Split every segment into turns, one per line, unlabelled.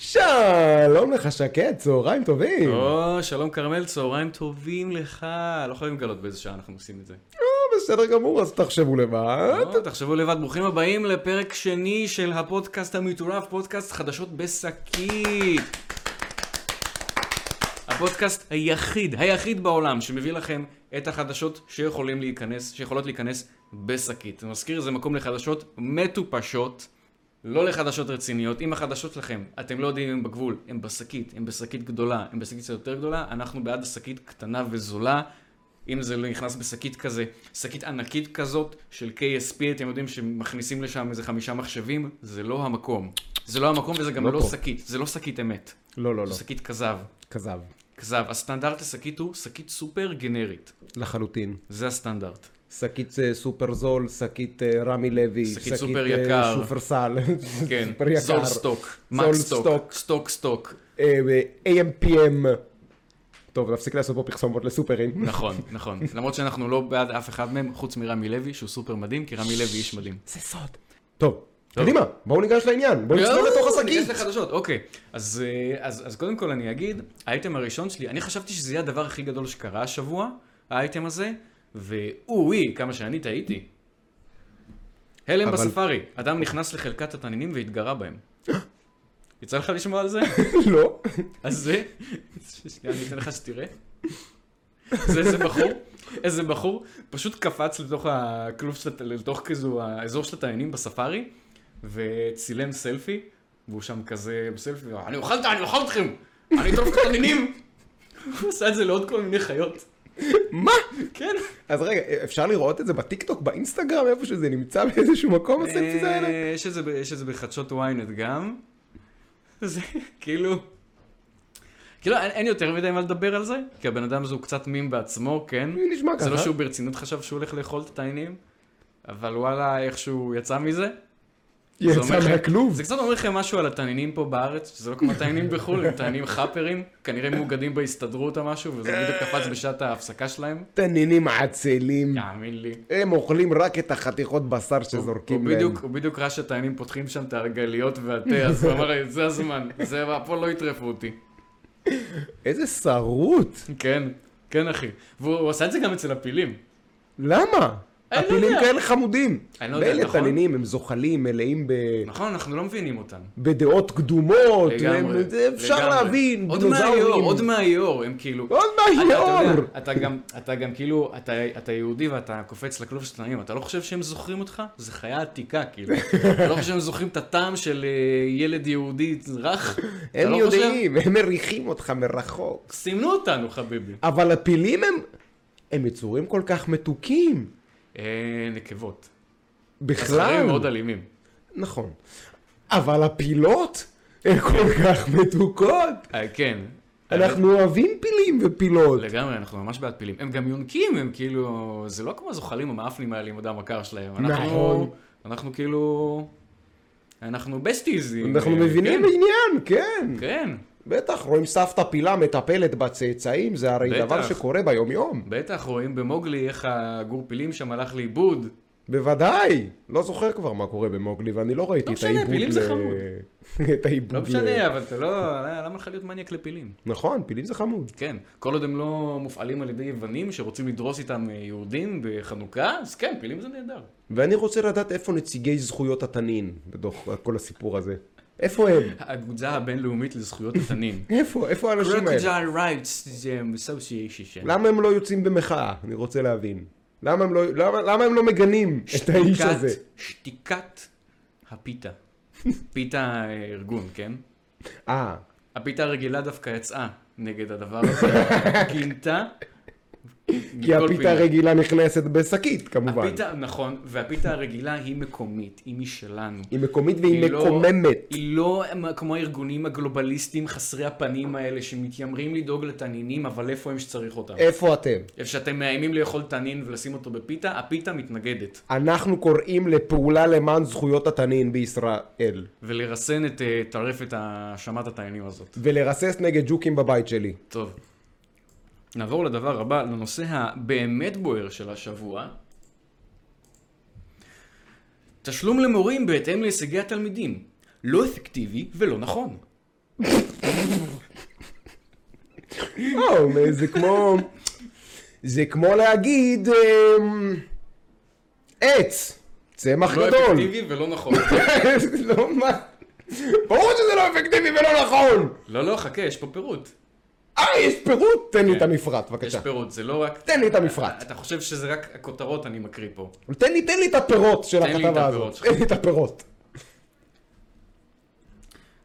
שלום לך שקד, צהריים טובים.
או, שלום כרמל, צהריים טובים לך. לא חייבים לגלות באיזה שעה אנחנו עושים את זה.
אה, בסדר גמור, אז תחשבו לבד.
או, תחשבו לבד, ברוכים הבאים לפרק שני של הפודקאסט המטורף, פודקאסט חדשות בשקית. הפודקאסט היחיד, היחיד בעולם שמביא לכם את החדשות שיכולים להיכנס, שיכולות להיכנס בשקית. אני מזכיר, זה מקום לחדשות מטופשות, לא לחדשות רציניות. אם החדשות שלכם, אתם לא יודעים אם הם בגבול, הם בשקית, הם בשקית גדולה, הם בשקית קצת יותר גדולה, אנחנו בעד השקית קטנה וזולה. אם זה נכנס בשקית כזה, שקית ענקית כזאת של KSP, אתם יודעים שמכניסים לשם איזה חמישה מחשבים, זה לא המקום. זה לא המקום וזה גם
לא
לא, לא
פה.
שקית, זה לא שקית אמת.
לא, לא, לא,
זו שקית כזב.
כזב,
כזב. הסטנדרט לשקית הוא שקית סופר גנרית.
לחלוטין.
זה הסטנדרט.
שקית אה, סופר זול, שקית אה, רמי לוי,
שקית סופר
אה,
יקר.
שופרסל,
כן,
סופר יקר.
זול סטוק,
זול
מקס סטוק,
סטוק.
סטוק סטוק.
אה, אה, AMPM. טוב, נפסיק לעשות פה פרסומות לסופרים.
נכון, נכון. למרות שאנחנו לא בעד אף אחד מהם, חוץ מרמי לוי, שהוא סופר מדהים, כי רמי לוי איש מדהים.
זה סוד. טוב, קדימה, בואו ניגש לעניין, בואו נצלול לתוך השקית.
ניגש לחדשות, אוקיי. אז, אה, אז, אז קודם כל אני אגיד, האייטם הראשון שלי, אני חשבתי שזה יהיה הדבר הכי גדול שקרה השבוע, האייטם הזה, ואוי, כמה שאני טעיתי. הלם
אבל-
בספארי, אדם נכנס לחלקת התנינים והתגרה בהם. יצא לך לשמוע על זה?
לא.
אז זה, שנייה, אני אתן לך שתראה. זה איזה בחור, איזה בחור, פשוט קפץ לתוך הכלוב של, הת- לתוך כזו, האזור של התעניינים בספארי, וצילם סלפי, והוא שם כזה בסלפי, והוא, אני אוכל את ה- אני אוכל אתכם, אני אטרוף את התעניינים. הוא עשה את זה לעוד כל מיני חיות.
מה?
כן.
אז רגע, אפשר לראות את זה בטיקטוק, באינסטגרם, איפה שזה נמצא באיזשהו מקום, הסלפיז האלה?
אה, יש את זה ב- יש את זה בחדשות ynet גם. זה כאילו... כאילו אין, אין יותר מדי מה לדבר על זה, כי הבן אדם הזה הוא קצת מים בעצמו, כן?
הוא נשמע
זה לא
ככה.
שהוא ברצינות חשב שהוא הולך לאכול את התיינים, אבל וואלה, איכשהו הוא יצא מזה. זה אומר
יצא
לכם-
מהכלוב.
זה קצת אומר לכם משהו על התנינים פה בארץ, שזה לא כמו התנינים בחו"ל, הם תנינים חאפרים, כנראה מאוגדים בהסתדרות או משהו, וזה בדיוק קפץ בשעת ההפסקה שלהם.
תנינים עצלים.
יאמין לי.
הם אוכלים רק את החתיכות בשר
הוא
שזורקים להם.
בדיוק, הוא בדיוק ראה שהתיינים פותחים שם את הרגליות והתה, אז הוא אמר, זה הזמן, זה, פה לא יטרפו אותי.
איזה שרוט.
כן, כן אחי. והוא הוא עשה את זה גם אצל הפילים.
למה?
אני לא
הפילים
יודע.
כאלה חמודים.
אני לא יודע,
ואלה
נכון?
תנינים, הם זוחלים, מלאים ב-
נכון, אנחנו לא מבינים אותם.
בדעות קדומות.
לגמרי.
הם- זה אפשר
לגמרי.
להבין.
עוד
דינוזאורים.
מהיור, עוד מהיור, הם כאילו...
עוד
אתה- אתה יודע,
מהיור.
אתה גם, אתה גם כאילו, אתה, אתה יהודי ואתה קופץ לכלוב של תנאים, אתה לא חושב שהם זוכרים אותך? זה חיה עתיקה, כאילו. אתה לא חושב שהם זוכרים את הטעם של אה, ילד יהודי רך? אתה
הם
לא חושב?
יודעים, הם מריחים אותך מרחוק.
סימנו אותנו, חביבי.
אבל הפילים הם, הם יצורים כל כך מתוקים.
אה, נקבות.
בכלל.
הזכרים מאוד אלימים.
נכון. אבל הפילות הן כל כך מתוקות.
אה, כן.
אנחנו אוהבים פילים ופילות.
לגמרי, אנחנו ממש בעד פילים. הם גם יונקים, הם כאילו, זה לא כמו זוחלים או מאפנים מהלימוד המכר שלהם. אנחנו-
נכון.
אנחנו כאילו, אנחנו בסטיזים.
אנחנו מבינים עניין, כן.
כן,
בטח, רואים סבתא פילה מטפלת בצאצאים, זה הרי
בטח.
דבר שקורה ביום-יום.
בטח רואים במוגלי איך הגור פילים שם הלך לאיבוד.
בוודאי. לא זוכר כבר מה קורה במוגלי, ואני לא ראיתי
לא
את
משנה,
העיבוד
פילים זה חמוד.
את העיבוד
לא
ל-
משנה, אבל אתה לא, למה לך להיות מניאק לפילים?
נכון, פילים זה חמוד.
כן, כל עוד הם לא מופעלים על ידי יוונים שרוצים לדרוס איתם אה, יהודים בחנוכה, אז כן, פילים זה נהדר.
ואני רוצה לדעת איפה נציגי זכויות התנין בתוך כל הסיפור הזה. איפה הם?
האגודה הבינלאומית לזכויות התנים.
איפה? איפה האנשים האלה?
Crocodile Rights Association.
למה הם לא יוצאים במחאה? אני רוצה להבין. למה הם לא, למה, למה הם לא מגנים את האיש
שתיקת-
הזה?
שתיקת הפיתה. פיתה אה, ארגון, כן?
אה,
הפיתה הרגילה דווקא יצאה נגד הדבר הזה. גינתה.
כי
מכל
הפיתה
פינה.
הרגילה נכנסת בשקית כמובן.
הפיתה, נכון, והפיתה הרגילה היא מקומית, היא משלנו.
היא מקומית והיא
היא לא-
מקוממת.
היא לא כמו הארגונים הגלובליסטים חסרי הפנים האלה שמתיימרים לדאוג לתנינים, אבל איפה הם שצריך אותם?
איפה אתם?
איפה שאתם מאיימים לאכול תנין ולשים אותו בפיתה, הפיתה מתנגדת.
אנחנו קוראים לפעולה למען זכויות התנין בישראל.
ולרסן את אה, טרפת האשמת התנינים הזאת.
ולרסס נגד ג'וקים בבית שלי.
טוב. נעבור לדבר הבא, לנושא הבאמת בוער של השבוע. תשלום למורים בהתאם להישגי התלמידים. לא אפקטיבי ולא נכון.
לא, זה כמו... זה כמו להגיד... אמ, עץ, צמח
לא
גדול.
אפקטיבי ולא נכון.
לא, מה? ברור שזה לא אפקטיבי ולא נכון!
לא, לא, חכה, יש פה פירוט.
אה, יש פירוט? תן לי את
כן.
המפרט,
יש
בבקשה.
פירוט, זה לא רק...
תן לי את המפרט.
אתה חושב שזה רק הכותרות אני מקריא פה.
תן לי, תן לי את הפירות של
תן לי את
הכתבה
הפירות
הזאת.
שלך.
תן לי את הפירות.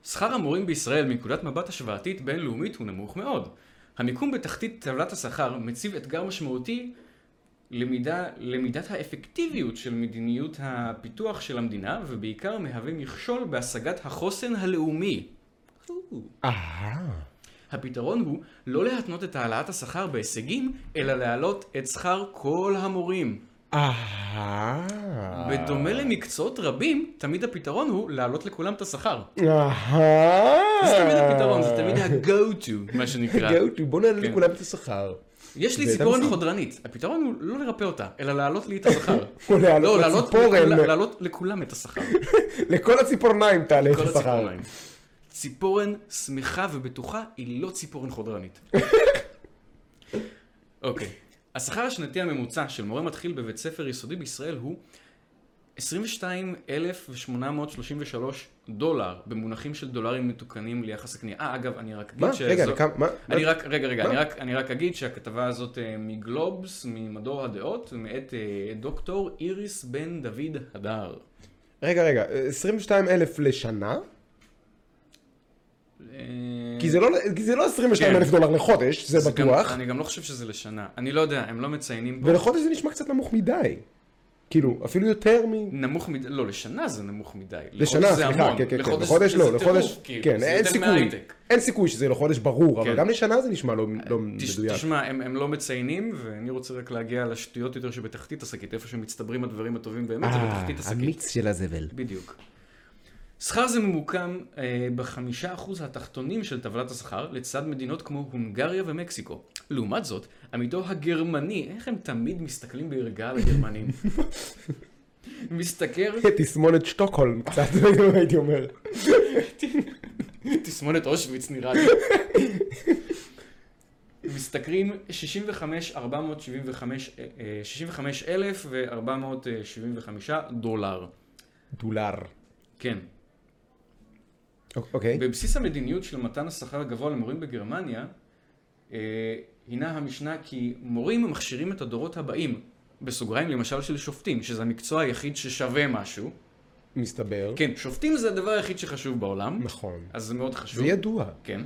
שכר המורים בישראל מנקודת מבט השוואתית בינלאומית הוא נמוך מאוד. המיקום בתחתית טבלת השכר מציב אתגר משמעותי למידה, למידת האפקטיביות של מדיניות הפיתוח של המדינה, ובעיקר מהווה מכשול בהשגת החוסן הלאומי.
אהה.
הפתרון הוא לא להתנות את העלאת השכר בהישגים, אלא להעלות את שכר כל המורים.
אהה.
בדומה למקצועות רבים, תמיד הפתרון הוא להעלות לכולם את השכר.
אהה.
זה תמיד הפתרון, זה תמיד ה-go-to, מה שנקרא.
גאותי, בוא נעלה
כן.
לכולם את השכר.
יש לי
ואתה
ציפורן
מסכים.
חודרנית, הפתרון הוא לא לרפא אותה, אלא להעלות לי את השכר.
או להעלות
לא,
לציפורן.
לכולם- להעלות לכולם את השכר.
לכל הציפורניים תעלה את
כל
השכר.
הציפורניים. ציפורן שמחה ובטוחה היא לא ציפורן חודרנית. אוקיי. השכר השנתי הממוצע של מורה מתחיל בבית ספר יסודי בישראל הוא 22,833 דולר במונחים של דולרים מתוקנים ליחס הקנייה. אה, אגב, אני רק אגיד
מה?
שזו-
רגע, לכמה... מה?
אני רק, רגע, רגע,
מה?
אני רק, אני רק אגיד שהכתבה הזאת אה, מגלובס, ממדור הדעות, מאת אה, דוקטור איריס בן דוד הדר.
רגע, רגע, 22 אלף לשנה?
אה,
כי זה לא, כי זה לא 22 אלף
כן.
דולר לחודש, זה
גם-
בטוח.
אני גם לא חושב שזה לשנה. אני לא יודע, הם לא מציינים פה.
ולחודש זה נשמע קצת נמוך מדי. כאילו, אפילו יותר מ...
נמוך מדי, לא, לשנה זה נמוך מדי. לחודש
לשנה,
זה
סליחה,
המון.
כן, כן, כן,
לחודש
לחודש
זה-
לא,
זה
לחודש,
טירוף, כאילו,
כן,
זה
אין
יותר
סיכוי,
מההייטק.
אין סיכוי שזה לחודש ברור, אבל
כן.
גם לשנה זה נשמע לא לא
תש-
מדויק.
תשמע, הם הם לא מציינים, ואני רוצה רק להגיע לשטויות יותר שבתחתית השקית, איפה שמצטברים הדברים הטובים באמת,
אה,
זה בתחתית השקית.
של הזבל.
בדיוק. שכר זה ממוקם אה, בחמישה אחוז התחתונים של טבלת השכר, לצד מדינות כמו הונגריה ומקסיקו. לעומת זאת, עמיתו הגרמני, איך הם תמיד מסתכלים בערגה על הגרמנים? משתכר
תסמונת שטוקהולם קצת, הייתי אומר.
תסמונת אושוויץ נראה לי. משתכרים 65,475 אה, אה, 65,475 אה, דולר.
דולר.
כן.
אוקיי.
בבסיס המדיניות של מתן השכר הגבוה למורים בגרמניה, אה, הינה המשנה כי מורים מכשירים את הדורות הבאים, בסוגריים למשל של שופטים, שזה המקצוע היחיד ששווה משהו.
מסתבר.
כן, אה, שופטים זה הדבר היחיד שחשוב בעולם,
נכון.
אז זה מאוד חשוב.
זה ידוע.
כן.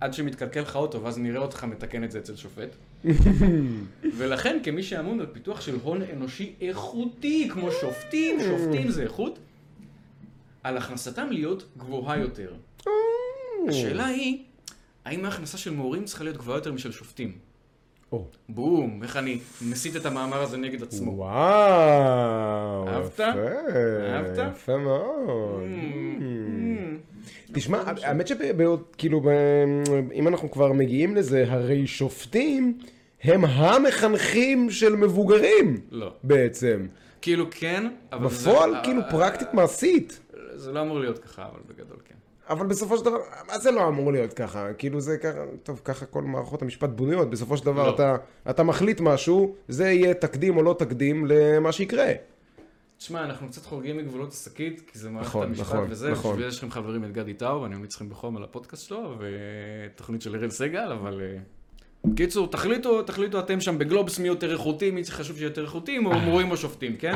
עד שמתקלקל לך אוטו, ואז נראה אותך מתקן את זה אצל שופט. ולכן, כמי שאמון על פיתוח של הון אנושי איכותי, כמו שופטים, שופטים זה איכות, על הכנסתם להיות גבוהה יותר. השאלה היא, האם ההכנסה של מורים צריכה להיות גבוהה יותר משל שופטים?
או.
בום, איך אני מסיט את המאמר הזה נגד עצמו.
וואו.
אהבת?
יפה.
אהבת?
יפה מאוד.
Mm.
תשמע, האמת שכאילו, אם אנחנו כבר מגיעים לזה, הרי שופטים הם המחנכים של מבוגרים
לא.
בעצם.
כאילו כן, אבל זה...
בפועל,
אה,
כאילו, פרקטית מעשית.
זה לא אמור להיות ככה, אבל בגדול כן.
אבל בסופו של דבר, מה זה לא אמור להיות ככה? כאילו זה ככה, טוב, ככה כל מערכות המשפט בנויות, בסופו של דבר
לא.
אתה, אתה מחליט משהו, זה יהיה תקדים או לא תקדים למה שיקרה.
תשמע, אנחנו קצת חורגים מגבולות השקית, כי זה מערכת
נכון,
המשפט
נכון,
וזה,
נכון.
בשביל יש לכם חברים את גדי טאו, ואני ממליץ לכם בחום על הפודקאסט שלו, ותוכנית של אראל סגל, אבל... אה, בקיצור, תחליטו, תחליטו אתם שם בגלובס מי יותר איכותי, מי חשוב שיהיה יותר איכותי, או מורים או שופטים, כן?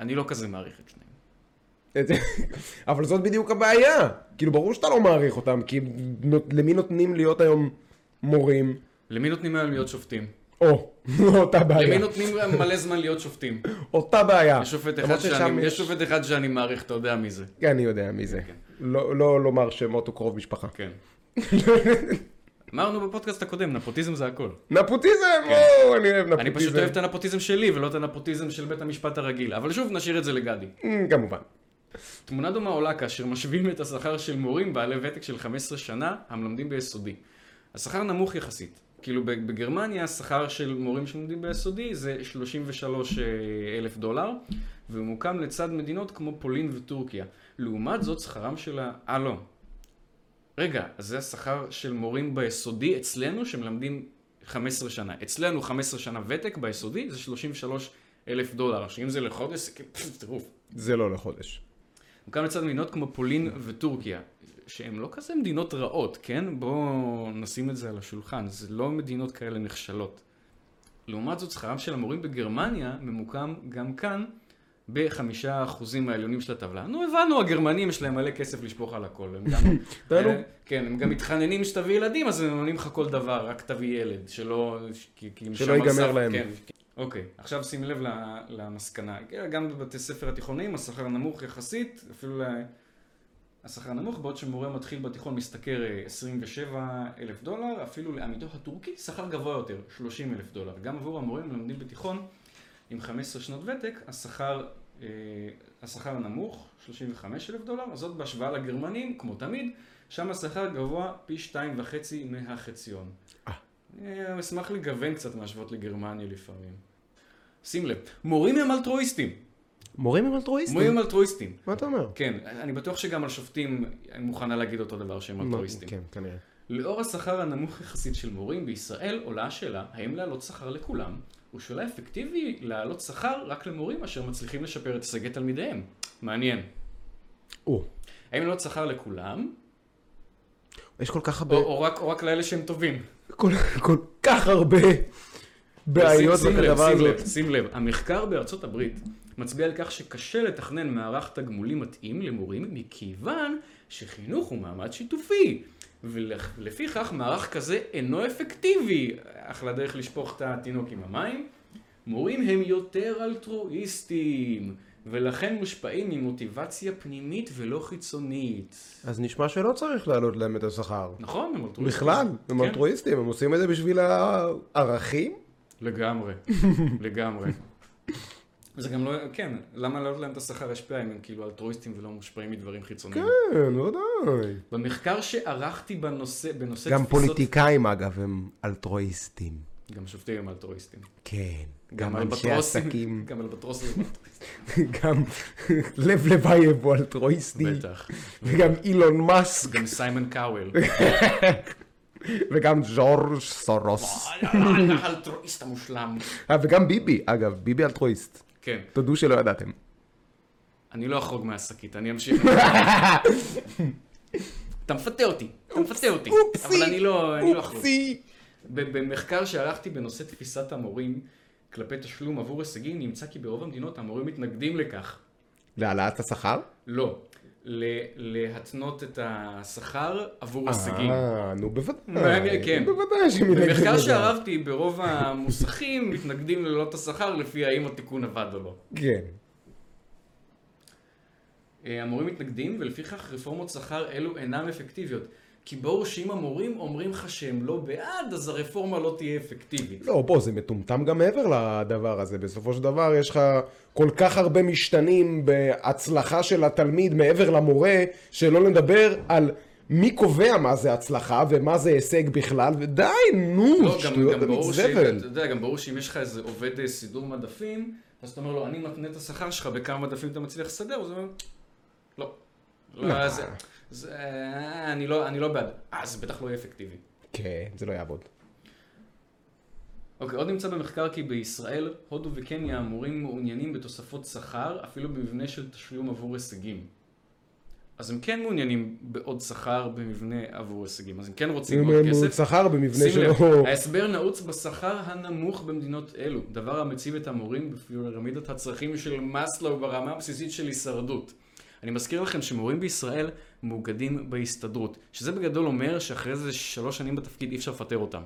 אני לא כזה מעריך את שניהם.
את- אבל זאת בדיוק הבעיה. כאילו, ברור שאתה לא מעריך אותם, כי נות- למי נותנים להיות היום מורים?
למי נותנים היום להיות שופטים?
או, אותה
למי
בעיה.
נותנים מלא זמן להיות שופטים?
אותה בעיה.
יש שופט אחד
למרות ששם
שאני- יש
יש-
שופט אחד שאני מעריך, אתה יודע מי זה.
כן, אני יודע מי זה. לא לא לומר שמות או קרוב משפחה.
כן. אמרנו בפודקאסט הקודם, נפוטיזם זה הכל.
נפוטיזם, או, אני אוהב נפוטיזם.
כן. אני פשוט אוהב את הנפוטיזם שלי ולא את הנפוטיזם של בית המשפט הרגיל. אבל שוב, נשאיר את זה לגדי.
אה, כמובן.
תמונה דומה עולה כאשר משווים את השכר של מורים בעלי ותק של 15 שנה המלמדים ביסודי. השכר נמוך יחסית, כאילו ב- בגרמניה השכר של מורים שלומדים ביסודי זה 33 אה, אלף דולר, והוא מוקם לצד מדינות כמו פולין וטורקיה. לעומת זאת שכרם של ה... אה לא. רגע, אז זה השכר של מורים ביסודי אצלנו שמלמדים 15 שנה. אצלנו 15 שנה ותק ביסודי זה 33 אלף דולר. שאם זה לחודש, זה כאילו פפפ, טירוף.
זה לא לחודש.
גם לצד מדינות כמו פולין וטורקיה, שהן לא כזה מדינות רעות, כן? בואו נשים את זה על השולחן, זה לא מדינות כאלה נחשלות. לעומת זאת, שכרם של המורים בגרמניה ממוקם גם כאן בחמישה אחוזים העליונים של הטבלה. נו, הבנו, הגרמנים יש להם מלא כסף לשפוך על הכל. הם גם,
תענו.
אה, כן, הם גם מתחננים שתביא ילדים, אז הם מממנים לך כל דבר, רק תביא ילד, שלא... ש- כי- כי-
שלא
שם
ייגמר
הסף-
להם.
כן, אוקיי, עכשיו שים לב ל- למסקנה. גם בבתי ספר התיכוניים השכר נמוך יחסית, אפילו ל- השכר נמוך, בעוד שמורה מתחיל בתיכון משתכר אה, 27 אלף דולר, אפילו לעמיתו הטורקי שכר גבוה יותר, 30 אלף דולר. גם עבור המורים המלמדים בתיכון עם 15 שנות ותק, השכר, אה, השכר נמוך, 35 אלף דולר, זאת בהשוואה לגרמנים, כמו תמיד, שם השכר גבוה פי שתיים וחצי מהחציון.
אה.
אה, אשמח לגוון קצת מהשוות לגרמניה לפעמים. שים לב, מורים הם אלטרואיסטים.
מורים הם
מורים
אלטרואיסטים?
הם אלטרואיסטים.
מה אתה אומר?
כן, אני בטוח שגם על שופטים אני מוכנה להגיד אותו דבר שהם אלטרואיסטים.
כן, כנראה.
לאור השכר הנמוך יחסית של מורים בישראל עולה השאלה האם להעלות שכר לכולם, ושאלה אפקטיבי להעלות שכר רק למורים אשר מצליחים לשפר את הישגי תלמידיהם. מעניין.
או,
האם להעלות שכר לכולם,
יש כל כך הרבה,
או, או, רק, או רק לאלה שהם טובים?
כל, כל כך הרבה בעיות
שים- שים לב,
בכתבה
שים
הזאת.
לב, שים לב, המחקר בארצות הברית מצביע על כך שקשה לתכנן מערך תגמולים מתאים למורים מכיוון שחינוך הוא מעמד שיתופי. ולפיכך מערך כזה אינו אפקטיבי. אחלה דרך לשפוך את התינוק עם המים. מורים הם יותר אלטרואיסטים, ולכן מושפעים ממוטיבציה פנימית ולא חיצונית.
אז נשמע שלא צריך להעלות להם את השכר.
נכון, הם אלטרואיסטים.
בכלל, הם
כן.
אלטרואיסטים, הם עושים את זה בשביל הערכים?
לגמרי, לגמרי. זה גם לא, כן, למה להעלות להם את השכר השפעה אם הם כאילו אלטרואיסטים ולא מושפעים מדברים חיצוניים?
כן,
לא
ודאי.
במחקר שערכתי בנושא, בנושא
גם פוליטיקאים אגב הם אלטרואיסטים.
גם שופטים הם אלטרואיסטים.
כן. גם אנשי
אלבטרוסים-
עסקים.
גם אלבטרוסים הם
גם לב לבייב הוא אלטרואיסטי.
אלטרואיסטים, בטח.
וגם אילון מאסק.
גם סיימון קאוול.
וגם ג'ורג' סורוס.
האלטרואיסט המושלם.
אה, וגם ביבי, אגב, ביבי אלטרואיסט.
כן,
תודו שלא ידעתם.
אני לא אחרוג מהשקית, אני אמשיך. אתה מפתה אותי, אתה מפתה אותי.
אופסי,
אבל אני לא אני לא אחרוג.
אופסי.
ב- במחקר שערכתי בנושא תפיסת המורים כלפי תשלום עבור הישגים, נמצא כי ברוב המדינות המורים מתנגדים לכך.
להעלאת השכר?
לא. ל- להתנות את השכר עבור הישגים.
אה, נו
מעניין,
בוודאי.
כן.
בוודאי שהם ידעו
במחקר
את זה.
שערבתי, ברוב המוסכים מתנגדים להעלות את השכר לפי האם התיקון עבד או לא.
כן.
אה, המורים מתנגדים, ולפיכך רפורמות שכר אלו אינן אפקטיביות. כי ברור שאם המורים אומרים לך שהם לא בעד, אז הרפורמה לא תהיה אפקטיבית.
לא, בוא, זה מטומטם גם מעבר לדבר הזה. בסופו של דבר יש לך כל כך הרבה משתנים בהצלחה של התלמיד מעבר למורה, שלא נדבר על מי קובע מה זה הצלחה ומה זה הישג בכלל, ודי, נו,
לא, גם,
שטויות
גם, ברור שאם,
ומצבל.
אתה יודע, גם ברור שאם יש לך איזה עובד אה, סידור מדפים, אז אתה אומר לו, אני מתנה את השכר שלך, בכמה מדפים אתה מצליח לסדר, אז הוא אומר, לא.
לא.
לא, זה, זה, אני לא, אני לא בעד. אה, זה בטח לא יהיה אפקטיבי.
כן, זה לא יעבוד.
אוקיי, עוד נמצא במחקר כי בישראל, הודו וקניה המורים מעוניינים בתוספות שכר, אפילו במבנה של תשלום עבור הישגים. אז הם כן מעוניינים בעוד שכר במבנה עבור הישגים, אז הם כן רוצים עוד
אם
כסף.
הוא שכר במבנה
שים לב, אה,
שלו,
ההסבר נעוץ בשכר הנמוך במדינות אלו, דבר המציב את המורים בפירמידת הצרכים של מאסלו ברמה הבסיסית של הישרדות. אני מזכיר לכם שמורים בישראל מאוגדים בהסתדרות, שזה בגדול אומר שאחרי זה שלוש שנים בתפקיד אי אפשר לפטר אותם.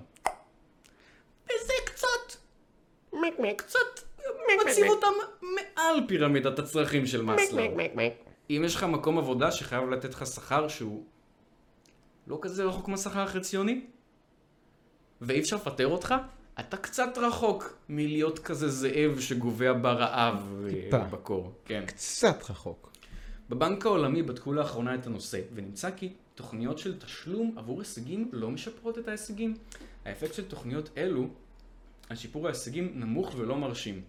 וזה קצת, קצת מציב אותם מעל פירמידת הצרכים של מאסלו. אם יש לך מקום עבודה שחייב לתת לך שכר שהוא לא כזה רחוק מהשכר החציוני, ואי אפשר לפטר אותך, אתה קצת רחוק מלהיות כזה זאב שגובע ברעב אה,
טיפה.
בקור. כן.
קצת רחוק.
בבנק העולמי בדקו לאחרונה את הנושא, ונמצא כי תוכניות של תשלום עבור הישגים לא משפרות את ההישגים. האפקט של תוכניות אלו על שיפור ההישגים נמוך ולא מרשים.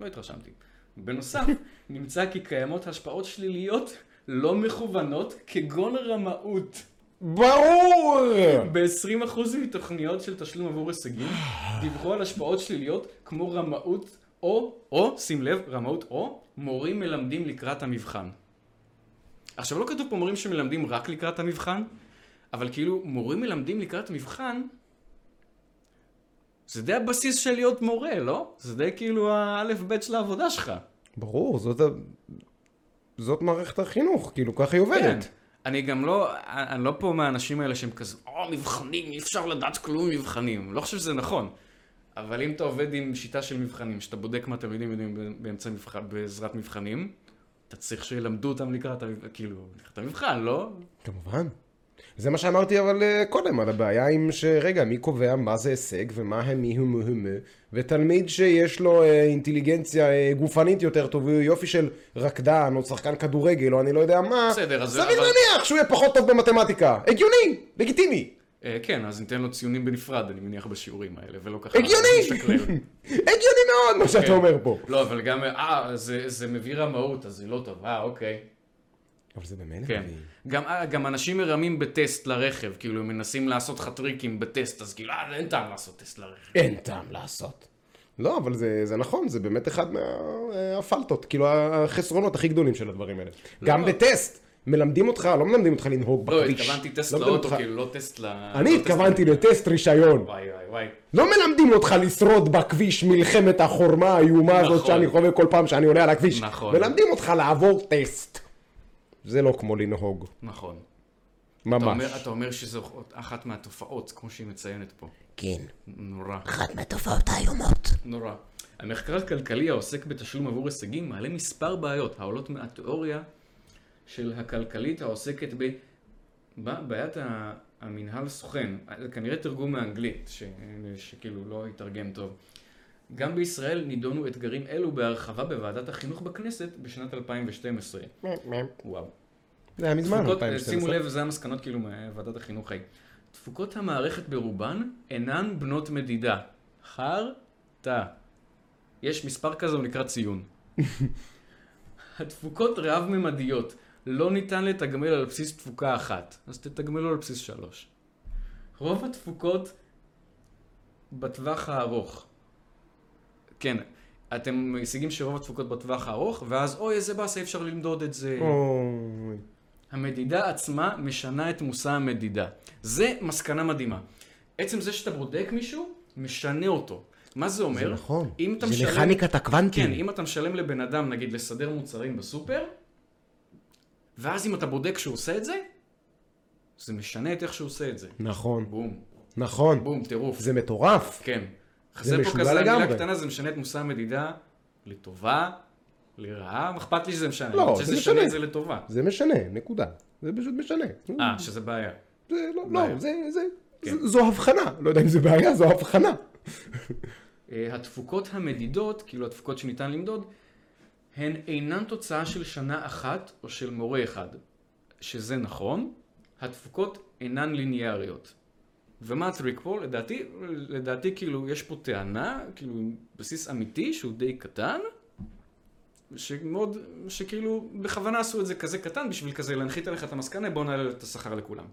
לא התרשמתי. בנוסף, נמצא כי קיימות השפעות שליליות לא מכוונות כגון רמאות.
ברור!
ב-20% מתוכניות של תשלום עבור הישגים דיווחו על השפעות שליליות כמו רמאות או, או, שים לב, רמאות או, מורים מלמדים לקראת המבחן. עכשיו לא כתוב פה מורים שמלמדים רק לקראת המבחן, אבל כאילו מורים מלמדים לקראת המבחן, זה די הבסיס של להיות מורה, לא? זה די כאילו האלף בית של העבודה שלך.
ברור, זאת, ה- זאת מערכת החינוך, כאילו ככה היא
כן.
עובדת.
אני גם לא, אני לא פה מהאנשים האלה שהם כזה, או, מבחנים, אי אפשר לדעת כלום מבחנים. לא חושב שזה נכון. אבל אם אתה עובד עם שיטה של מבחנים, שאתה בודק מה תלמידים יודעים באמצע מבחן, בעזרת מבחנים, אתה צריך שילמדו אותם לקראת, המבחן, כאילו, לקראת המבחן, לא?
כמובן. זה מה שאמרתי אבל אה, קודם, על הבעיה עם שרגע, מי קובע מה זה הישג ומה הם מי הם הם ותלמיד שיש לו אה, אינטליגנציה אה, גופנית יותר טוב, הוא יופי של רקדן או שחקן כדורגל או אני לא יודע מה,
בסדר, אז-
סביר
אבל-
להניח שהוא יהיה פחות טוב במתמטיקה. הגיוני, לגיטימי,
אה, כן, אז ניתן לו ציונים בנפרד, אני מניח, בשיעורים האלה, ולא ככה...
הגיוני!
נשקלל.
הגיוני מאוד מה שאתה
כן.
אומר פה.
לא, אבל גם, אה, זה, זה מביא רמאות, אז זה לא טוב, אה, אוקיי.
אבל זה במילא
כן.
מבין.
גם, אה, גם אנשים מרמים בטסט לרכב, כאילו, הם מנסים לעשות לך טריקים בטסט, אז כאילו, אה, אין טעם לעשות טסט לרכב.
אין טעם לעשות. לא, אבל זה, זה נכון, זה באמת אחד מהפלטות, כאילו החסרונות הכי גדולים של הדברים האלה. גם בטסט, מלמדים אותך, לא מלמדים אותך לנהוג
לא,
בכביש.
התכוונתי טסט
לא מלמדים
לאוטו,
אותך-
כאילו, לא טסט ל...
אני
לא טסט
התכוונתי
ל-
לטסט רישיון.
וואי, וואי, וואי.
לא מלמדים אותך לשרוד בכביש מלחמת החורמה האיומה הזאת
נכון.
שאני חווה כל פעם שאני עולה על הכביש.
נכון.
מלמדים אותך לעבור טסט. זה לא כמו לנהוג,
נכון. אתה
ממש.
אומר, אתה אומר שזו אחת מהתופעות, כמו שהיא מציינת פה.
כן.
נורא.
אחת מהתופעות האיומות.
נורא. המחקר הכלכלי העוסק בתשלום עבור הישגים מעלה מספר בעיות העולות מהתיאוריה של הכלכלית העוסקת ב... בבעיית ה- המנהל סוכן. זה כנראה תרגום מאנגלית, ש... שכאילו לא התרגם טוב. גם בישראל נידונו אתגרים אלו בהרחבה בוועדת החינוך בכנסת בשנת 2012. וואו.
זה היה מזמן,
תפוקות- אה,
2012.
שימו לב, זה המסקנות כאילו מוועדת החינוך ההיא. תפוקות המערכת ברובן אינן בנות מדידה. חרטא. יש מספר כזה, הוא נקרא ציון. התפוקות רב-ממדיות. לא ניתן לתגמל על בסיס תפוקה אחת. אז תתגמלו על בסיס שלוש. רוב התפוקות בטווח הארוך. כן, אתם משיגים שרוב התפוקות בטווח הארוך, ואז אוי, איזה באסה, אי אפשר למדוד את זה.
אוי.
המדידה עצמה משנה את מושא המדידה. זה מסקנה מדהימה. עצם זה שאתה בודק מישהו, משנה אותו. מה זה אומר?
זה נכון.
אם אתה
זה
משלם...
מכניקת הקוונטים.
כן, אם אתה משלם לבן אדם, נגיד, לסדר מוצרים בסופר, ואז אם אתה בודק שהוא עושה את זה, זה משנה את איך שהוא עושה את זה.
נכון,
בום,
נכון.
בום, טירוף.
זה מטורף.
כן. חסר פה
משוגע
כזה המילה
לגמרי.
קטנה, זה משנה את מושא המדידה לטובה, לרעה, מה אכפת לי שזה משנה.
לא,
אני רוצה
זה
שזה ישנה את
משנה.
זה לטובה.
זה משנה, נקודה. זה פשוט משנה.
אה, שזה בעיה.
זה לא,
בעיה.
לא, זה, זה,
כן.
ז- זו הבחנה. לא יודע אם זה בעיה, זו הבחנה.
אה, התפוקות המדידות, כאילו התפוקות שניתן למדוד, הן אינן תוצאה של שנה אחת או של מורה אחד. שזה נכון, התפוקות אינן ליניאריות. ומה הטריק פה? לדעתי, לדעתי כאילו יש פה טענה, כאילו עם בסיס אמיתי שהוא די קטן, שמאוד, שכאילו בכוונה עשו את זה כזה קטן בשביל כזה להנחית עליך את המסקנה, בואו נעלה את השכר לכולם.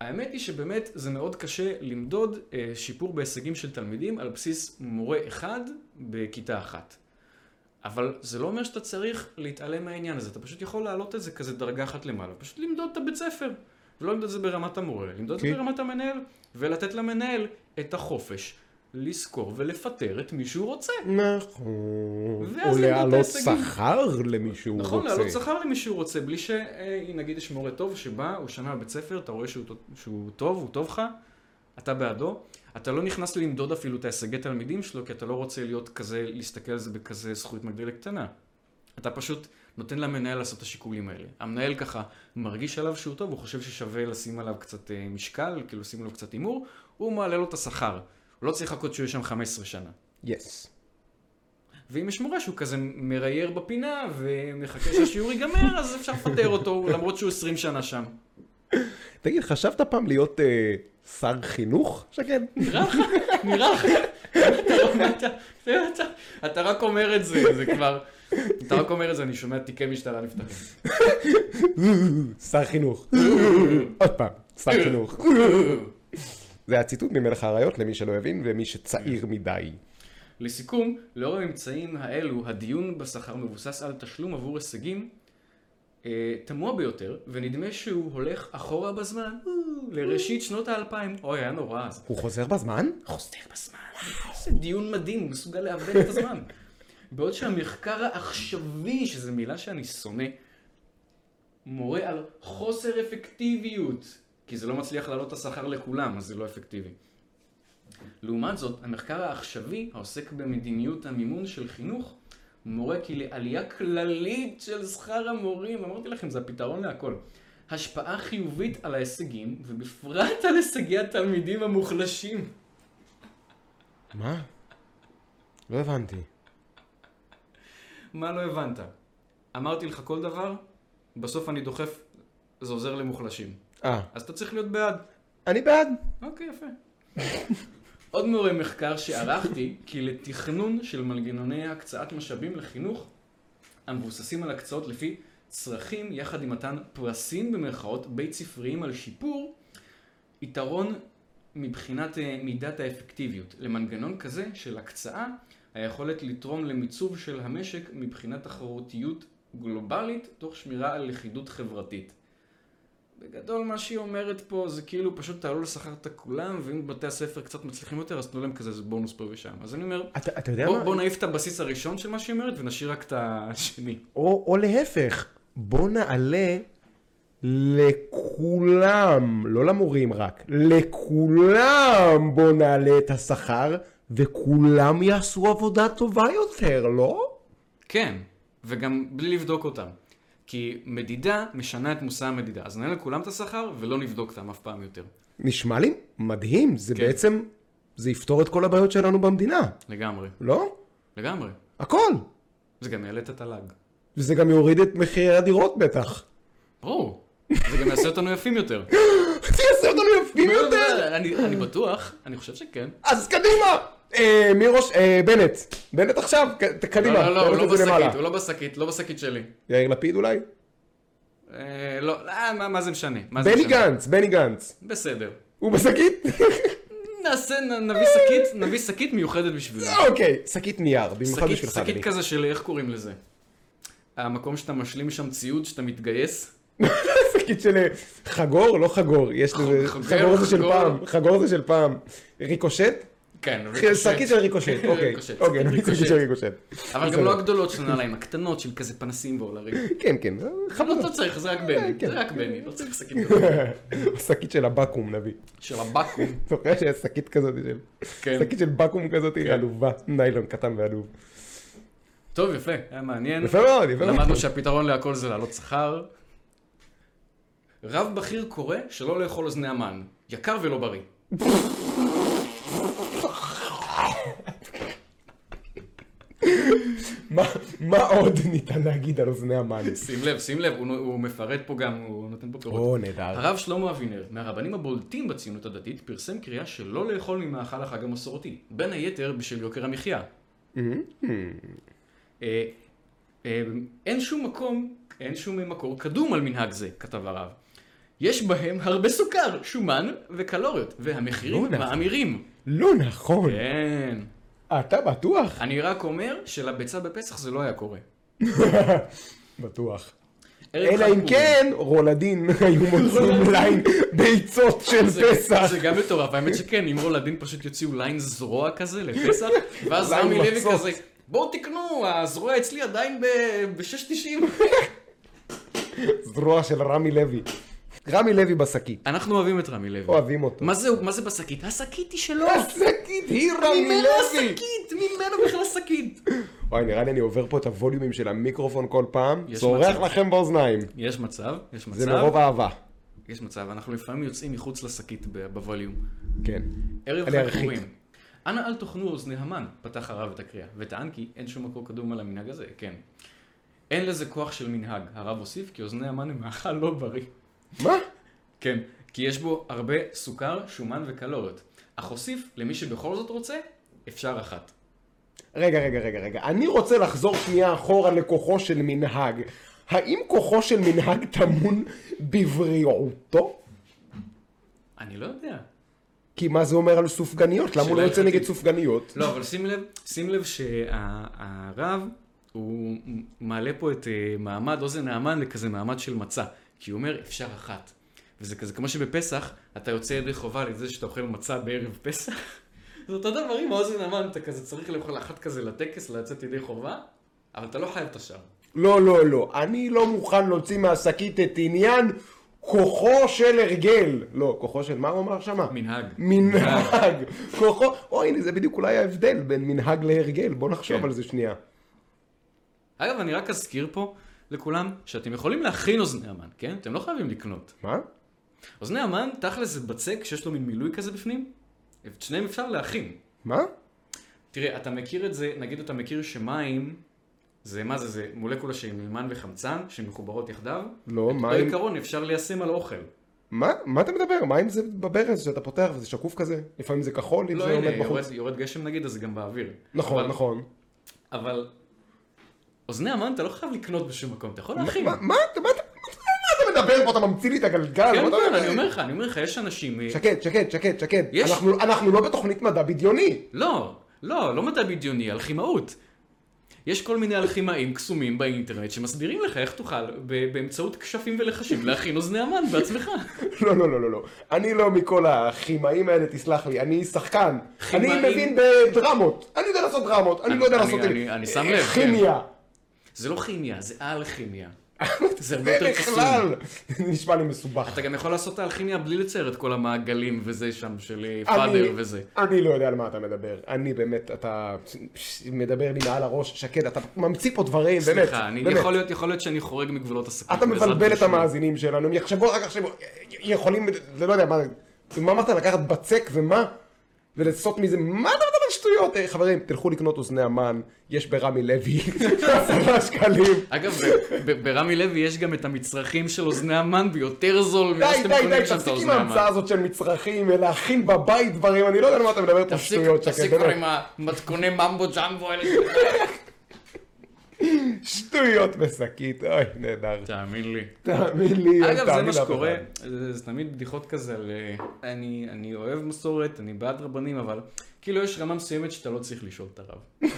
האמת היא שבאמת זה מאוד קשה למדוד אה, שיפור בהישגים של תלמידים על בסיס מורה אחד בכיתה אחת. אבל זה לא אומר שאתה צריך להתעלם מהעניין הזה, אתה פשוט יכול להעלות את זה כזה דרגה אחת למעלה, פשוט למדוד את הבית ספר. ולא למדוד את זה ברמת המורה, למדוד את זה
כן.
ברמת המנהל, ולתת למנהל את החופש לזכור ולפטר את מי שהוא רוצה.
נכון.
ואז
או
למדו את
להעלות
ההישגים.
שכר למישהו רוצה.
נכון, להעלות שכר למי שהוא רוצה, בלי ש... אה, אם נגיד יש מורה טוב שבא, הוא שנה בבית ספר, אתה רואה שהוא, ט- שהוא טוב, הוא טוב לך, אתה בעדו, אתה לא נכנס למדוד אפילו את ההישגי תלמידים שלו, כי אתה לא רוצה להיות כזה, להסתכל על זה בכזה זכות מגדלת קטנה. אתה פשוט נותן למנהל לעשות את השיקולים האלה. המנהל ככה מרגיש עליו שהוא טוב, הוא חושב ששווה לשים עליו קצת אה, משקל, כאילו לשים עליו קצת הימור, הוא מעלה לו את השכר. הוא לא צריך לחכות שהוא יהיה שם 15 שנה.
יס.
ואם יש מורה שהוא כזה מרייר בפינה ומחכה שהשיעור ייגמר, אז אפשר לפטר אותו, למרות שהוא 20 שנה שם.
תגיד, חשבת פעם להיות אה, שר חינוך? שכן.
נראה לך, נראה לך. אתה לא- מה אתה- אתה- אתה רק אומר את זה, זה כבר... אתה רק אומר את זה, אני שומע תיקי משטרה נפתחים.
שר חינוך. עוד פעם, שר חינוך. זה הציטוט ממלך האריות למי שלא הבין ומי שצעיר מדי.
לסיכום, לאור הממצאים האלו, הדיון בשכר מבוסס על תשלום עבור הישגים אה, תמוה ביותר, ונדמה שהוא הולך אחורה בזמן, אה, לראשית שנות האלפיים. אוי, היה נורא אז.
הוא חוזר בזמן?
חוזר בזמן. איזה דיון מדהים, הוא מסוגל לאבד את הזמן. בעוד שהמחקר העכשווי, שזו מילה שאני שונא, מורה על חוסר אפקטיביות, כי זה לא מצליח להעלות את השכר לכולם, אז זה לא אפקטיבי. לעומת זאת, המחקר העכשווי, העוסק במדיניות המימון של חינוך, מורה כי לעלייה כללית של שכר המורים, אמרתי לכם, זה הפתרון להכל. השפעה חיובית על ההישגים, ובפרט על הישגי התלמידים המוחלשים.
מה? לא הבנתי.
מה לא הבנת? אמרתי לך כל דבר, בסוף אני דוחף, זה עוזר למוחלשים.
אה,
אז אתה צריך להיות בעד.
אני בעד.
אוקיי, יפה. עוד מורה מחקר שערכתי, כי לתכנון של מנגנוני הקצאת משאבים לחינוך, המבוססים על הקצאות לפי צרכים, יחד עם מתן פרסים במרכאות בית ספריים על שיפור, יתרון מבחינת אה, מידת האפקטיביות. למנגנון כזה של הקצאה, היכולת לתרום למיצוב של המשק מבחינת תחרותיות גלובלית, תוך שמירה על לכידות חברתית. בגדול מה שהיא אומרת פה זה כאילו פשוט תעלו לשכר את הכולם, ואם בתי הספר קצת מצליחים יותר, אז תנו להם כזה איזה בונוס פה ושם. אז אני אומר,
אתה, אתה יודע
בוא,
מה?
בוא נעיף את הבסיס הראשון של מה שהיא אומרת ונשאיר רק את השני.
או, או להפך, בוא נעלה לכולם, לא למורים רק, לכולם בוא נעלה את השכר, וכולם יעשו עבודה טובה יותר, לא?
כן, וגם בלי לבדוק אותם. כי מדידה משנה את מושא המדידה. אז נעלה לכולם את השכר ולא נבדוק אותם אף פעם יותר.
נשמע לי מדהים, זה
כן.
בעצם, זה יפתור את כל הבעיות שלנו במדינה,
לגמרי.
לא?
לגמרי.
הכל.
זה גם יעלה את התל"ג.
וזה גם יוריד את מחירי הדירות בטח.
ברור. זה גם יעשה אותנו יפים יותר.
זה יעשה אותנו יפים יותר.
אני, אני בטוח, אני חושב שכן.
אז קדימה! אה, מי ראש... אה, בנט. בנט עכשיו, ק- ת-
לא,
קדימה.
לא, לא, הוא
בנט
לא
את זה למעלה.
בשקית, הוא לא בשקית, לא בשקית שלי.
יאיר לפיד אולי?
אה, לא, אה, מה, מה זה משנה? מה זה
בני
משנה?
גנץ, בני גנץ.
בסדר.
הוא בשקית?
נעשה, נ- נביא שקית, נביא שקית מיוחדת בשבילם.
אוקיי, שקית נייר, במיוחד
שקית,
בשבילך.
שקית
אדוני.
כזה של איך קוראים לזה? המקום שאתה משלים שם ציוד, שאתה מתגייס?
שקית של אה, חגור? לא חגור, יש לזה...
חגור,
חגור זה של
חגור.
פעם, חגור זה של פעם. ריקושט?
כן,
שקית של ריקושט, אוקיי.
ריקושט,
אוקיי,
שקית
שקית של ריקושט.
אבל גם לא הגדולות של הנעליים, הקטנות של כזה פנסים והולרים.
כן, כן, זה
לא,
חמודות.
לא צריך, זה רק בני,
כן.
זה רק בני, לא צריך שקית כזאת.
שקית של הבקו"ם נביא.
של הבקו"ם.
זוכר שהיה שקית כזאת של...
כן.
שקית של בקו"ם כזאת, עלובה, ניילון קטן ועלוב.
טוב, יפה, היה מעניין.
יפה מאוד, יפה מאוד.
למדנו שהפתרון להכל זה להעלות שכר. רב בכיר קורא שלא לאכול אוזני המן. יקר ולא בריא.
מה- מה עוד ניתן להגיד על אוזני המן?
שים לב, שים לב, הוא, הוא מפרט פה גם, הוא נותן פה פירוט.
או, נהדר.
הרב שלמה אבינר, מהרבנים הבולטים בציונות הדתית, פרסם קריאה שלא לאכול ממאכל החג המסורתי, בין היתר בשל יוקר המחיה. Mm-hmm. אה, אה, אין שום מקום, אין שום מקור קדום על מנהג זה, כתב הרב. יש בהם הרבה סוכר, שומן וקלוריות, והמחירים
לא נכון.
מאמירים.
לא נכון.
כן.
אתה בטוח?
אני רק אומר שלביצה בפסח זה לא היה קורה.
בטוח.
ערב
אלא
חג
אם
פורים.
כן, רולדין היו מוצאים ליין ביצות של
זה-
פסח.
זה גם מטורף, האמת שכן, אם רולדין פשוט יוציאו ליין זרוע כזה לפסח, ואז
ליין
רמי לוי
מצות.
כזה, בואו תקנו, הזרוע אצלי עדיין ב-6.90.
זרוע של רמי לוי. רמי לוי בשקית.
אנחנו אוהבים את רמי לוי.
אוהבים אותו.
מה זה- מה זה בשקית? השקית היא שלו.
השקית היא רמי
ממנו
לוי.
השקית, ממנו בכלל השקית.
וואי, נראה לי אני עובר פה את הווליומים של המיקרופון כל פעם.
יש
צורח
מצב.
לכם באוזניים.
יש מצב, יש
זה
מצב,
מרוב אהבה.
יש מצב, אנחנו לפעמים יוצאים מחוץ לשקית ב- בווליום.
כן.
ערב
אני
חג
ארחיק.
פורים. אנא אל תאכלו אוזני המן, פתח הרב את הקריאה, וטען כי אין שום מקור קדום על המנהג הזה, כן. אין לזה כוח של מנהג, הרב הוסיף כי אוזני המן הם מאכל לא בריא.
מה?
כן, כי יש בו הרבה סוכר, שומן וקלוריות. אך הוסיף, למי שבכל זאת רוצה, אפשר אחת.
רגע, רגע, רגע, רגע. אני רוצה לחזור שנייה אחורה לכוחו של מנהג. האם כוחו של מנהג טמון בבריאותו?
אני לא יודע.
כי מה זה אומר על סופגניות? למה הוא לא
שאלה
יוצא נגד
הלכתית.
סופגניות?
לא, אבל שים לב, שים לב שהרב, הוא מעלה פה את אה, מעמד אוזן האמן לכזה מעמד של מצה. כי הוא אומר, אפשר אחת. וזה כזה כמו שבפסח, אתה יוצא ידי חובה על ידי שאתה אוכל מצה בערב פסח. זה אותו דבר עם האוזן האמן, אתה כזה צריך לאכול אחת כזה לטקס, לצאת ידי חובה, אבל אתה לא חייב את השאר.
לא, לא, לא. אני לא מוכן להוציא מהשקית את עניין כוחו של הרגל. לא, כוחו של מה הוא אמר שמה?
מנהג.
מנהג. כוחו... או, הנה, זה בדיוק אולי ההבדל בין מנהג להרגל. בוא נחשוב
כן.
על זה שנייה.
אגב, אני רק אזכיר פה לכולם שאתם יכולים להכין אוזני המן, כן? אתם לא חייבים לקנות.
מה?
אוזני המן, תכל'ס זה בצק שיש לו מין מילוי כזה בפנים, את שניהם אפשר להכין.
מה?
תראה, אתה מכיר את זה, נגיד אתה מכיר שמים, זה מה זה, זה מולקולה שהיא מימן וחמצן, שמחוברות יחדיו.
לא,
אותו
מים...
עיקרון אפשר ליישם על אוכל.
מה? מה אתה מדבר? מים זה בברז שאתה פותח וזה שקוף כזה? לפעמים זה כחול, אם
לא,
זה
הנה,
עומד
יורד,
בחוץ.
יורד גשם נגיד, אז זה גם באוויר.
נכון,
אבל,
נכון.
אבל אוזני המן אתה לא חייב לקנות בשום מקום, אתה יכול להכין.
מה מה אתה מה אתה- מה אתה מדבר פה? אתה ממציא לי את הגלגל?
כן,
מה אתה
כן, אני אומר לך, אני אומר לך, יש אנשים... אה,
שקט, שקט, שקט, שקט.
יש-
אנחנו- אנחנו לא בתוכנית מדע בדיוני.
לא, לא, לא מדע בדיוני, אלחימאות. יש כל מיני אלחימאים קסומים באינטרנט שמסבירים לך איך תוכל ב- באמצעות כשפים ולחשים להכין אוזני המן בעצמך.
לא, לא, לא, לא, לא. אני לא מכל הכימאים האלה, תסלח לי. אני שחקן. אני
כימאים?
מבין בדרמות. אני יודע לעשות דרמות. אני
אני-
לא יודע
אני-
לעשות... אה,
אני- אני שם לב, כן.
כימיה.
זה לא כימיה, זה אלכימיה. זה הרבה יותר קסום.
בכלל. זה נשמע לי מסובך.
אתה גם יכול לעשות את האלכימיה בלי לצייר את כל המעגלים וזה שם של אה,
אני-
פאדר וזה.
אני לא יודע על מה אתה מדבר. אני באמת, אתה פש- מדבר לי מעל הראש, שקד, אתה ממציא פה דברים, באמת.
סליחה, אני-
באמת.
יכול להיות- יכול להיות שאני חורג מגבולות הסכום.
אתה מבלבל את המאזינים שלנו, הם יחשבו אחר כך שהם יכולים, זה לא יודע, מה, מה אמרת לקחת בצק ומה? ולעשות מזה, מה אתה מדבר שטויות? אה, חברים, תלכו לקנות אוזני המן, יש ברמי לוי, עשרה שקלים.
אגב, ב- ב- ברמי לוי יש גם את המצרכים של אוזני המן ביותר זול
די,
ממה לא שאתם
די, די,
קונים שם את
תפסיק עם
האוזני המן.
ההמצאה הזאת של מצרכים, ולהכין בבית דברים, אני לא יודע על מה אתה מדבר פה
תפסיק,
שטויות,
תפסיק
שקד,
כבר
באמת.
עם המתכוני ממבו ג'מבו האלה.
שטויות בשקית, אוי, נהדר.
תאמין לי.
תאמין לי, אל
אגב, זה
תאמין
מה
לאף אחד.
שקורה, זה זה תמיד בדיחות כזה על... אה, אני אני אוהב מסורת, אני בעד רבנים, אבל כאילו יש רמה מסוימת שאתה לא צריך לשאול את הרב.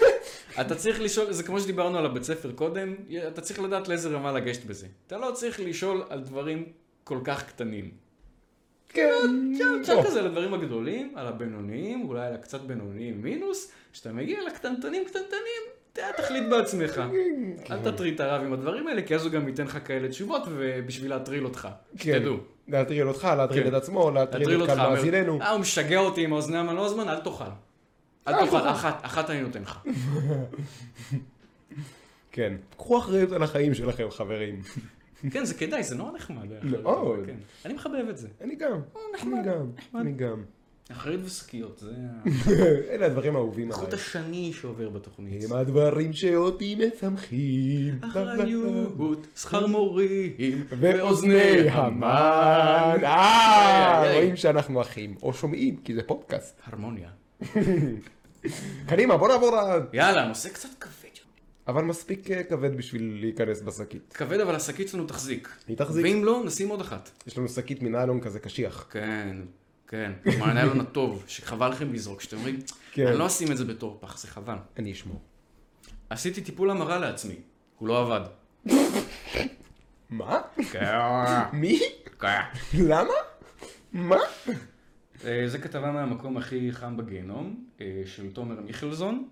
אתה צריך לשאול, זה כמו שדיברנו על הבית ספר קודם, אתה צריך לדעת לאיזה רמה לגשת בזה. אתה לא צריך לשאול על דברים כל כך קטנים.
כן,
אפשר
טוב.
כזה על הדברים הגדולים, על הבינוניים, אולי על הקצת בינוניים מינוס, כשאתה מגיע לקטנטנים קטנטנים, אתה תחליט בעצמך.
כן.
אל תטריד את הרב עם הדברים האלה, כי אז הוא גם ייתן לך כאלה תשובות, ובשביל להטריל אותך.
כן.
שתדעו.
להטריל אותך, להטריל
כן.
את עצמו,
להטריל
להטריל את
אותך,
כאן
אומר,
מאזיננו.
אה, הוא משגע אותי עם האוזני המנוע הזמן, אל תאכל. אל
לא.
תאכל, אחת, אחת אני נותן לך.
כן. קחו אחריות על החיים שלכם, חברים.
כן, זה כדאי, זה נורא נחמד.
מאוד.
כן. אני מחבב את זה.
אני גם,
אה,
אני גם, אני גם.
אחריות ושקיות, זה
אלה הדברים האהובים עליי.
החוט השני שעובר בתוכנית.
הם הדברים שאותי משמחים.
אחריות, שכר מורים,
ואוזני המן.
איי,
אה,
איי.
רואים שאנחנו אחים, או שומעים, כי זה פודקאסט.
הרמוניה.
קדימה, בוא נעבור ל...
יאללה, נושא קצת כבד.
אבל מספיק אה, כבד בשביל להיכנס בשקית.
כבד, אבל השקית שלנו תחזיק.
היא תחזיק.
ואם לא, נשים עוד אחת.
יש לנו שקית מנהלון כזה קשיח.
כן, כן. מהניילון הטוב, שחבל לכם לזרוק, שאתם אומרים,
כן.
אני לא אשים את זה בתור פח, זה חבל.
אני אשמור.
עשיתי טיפול המרה לעצמי, הוא לא עבד.
מה?
כן,
מי?
כן.
למה? מה?
אה, זה כתבה מהמקום הכי חם בגיהנום, אה, של תומר מיכלזון.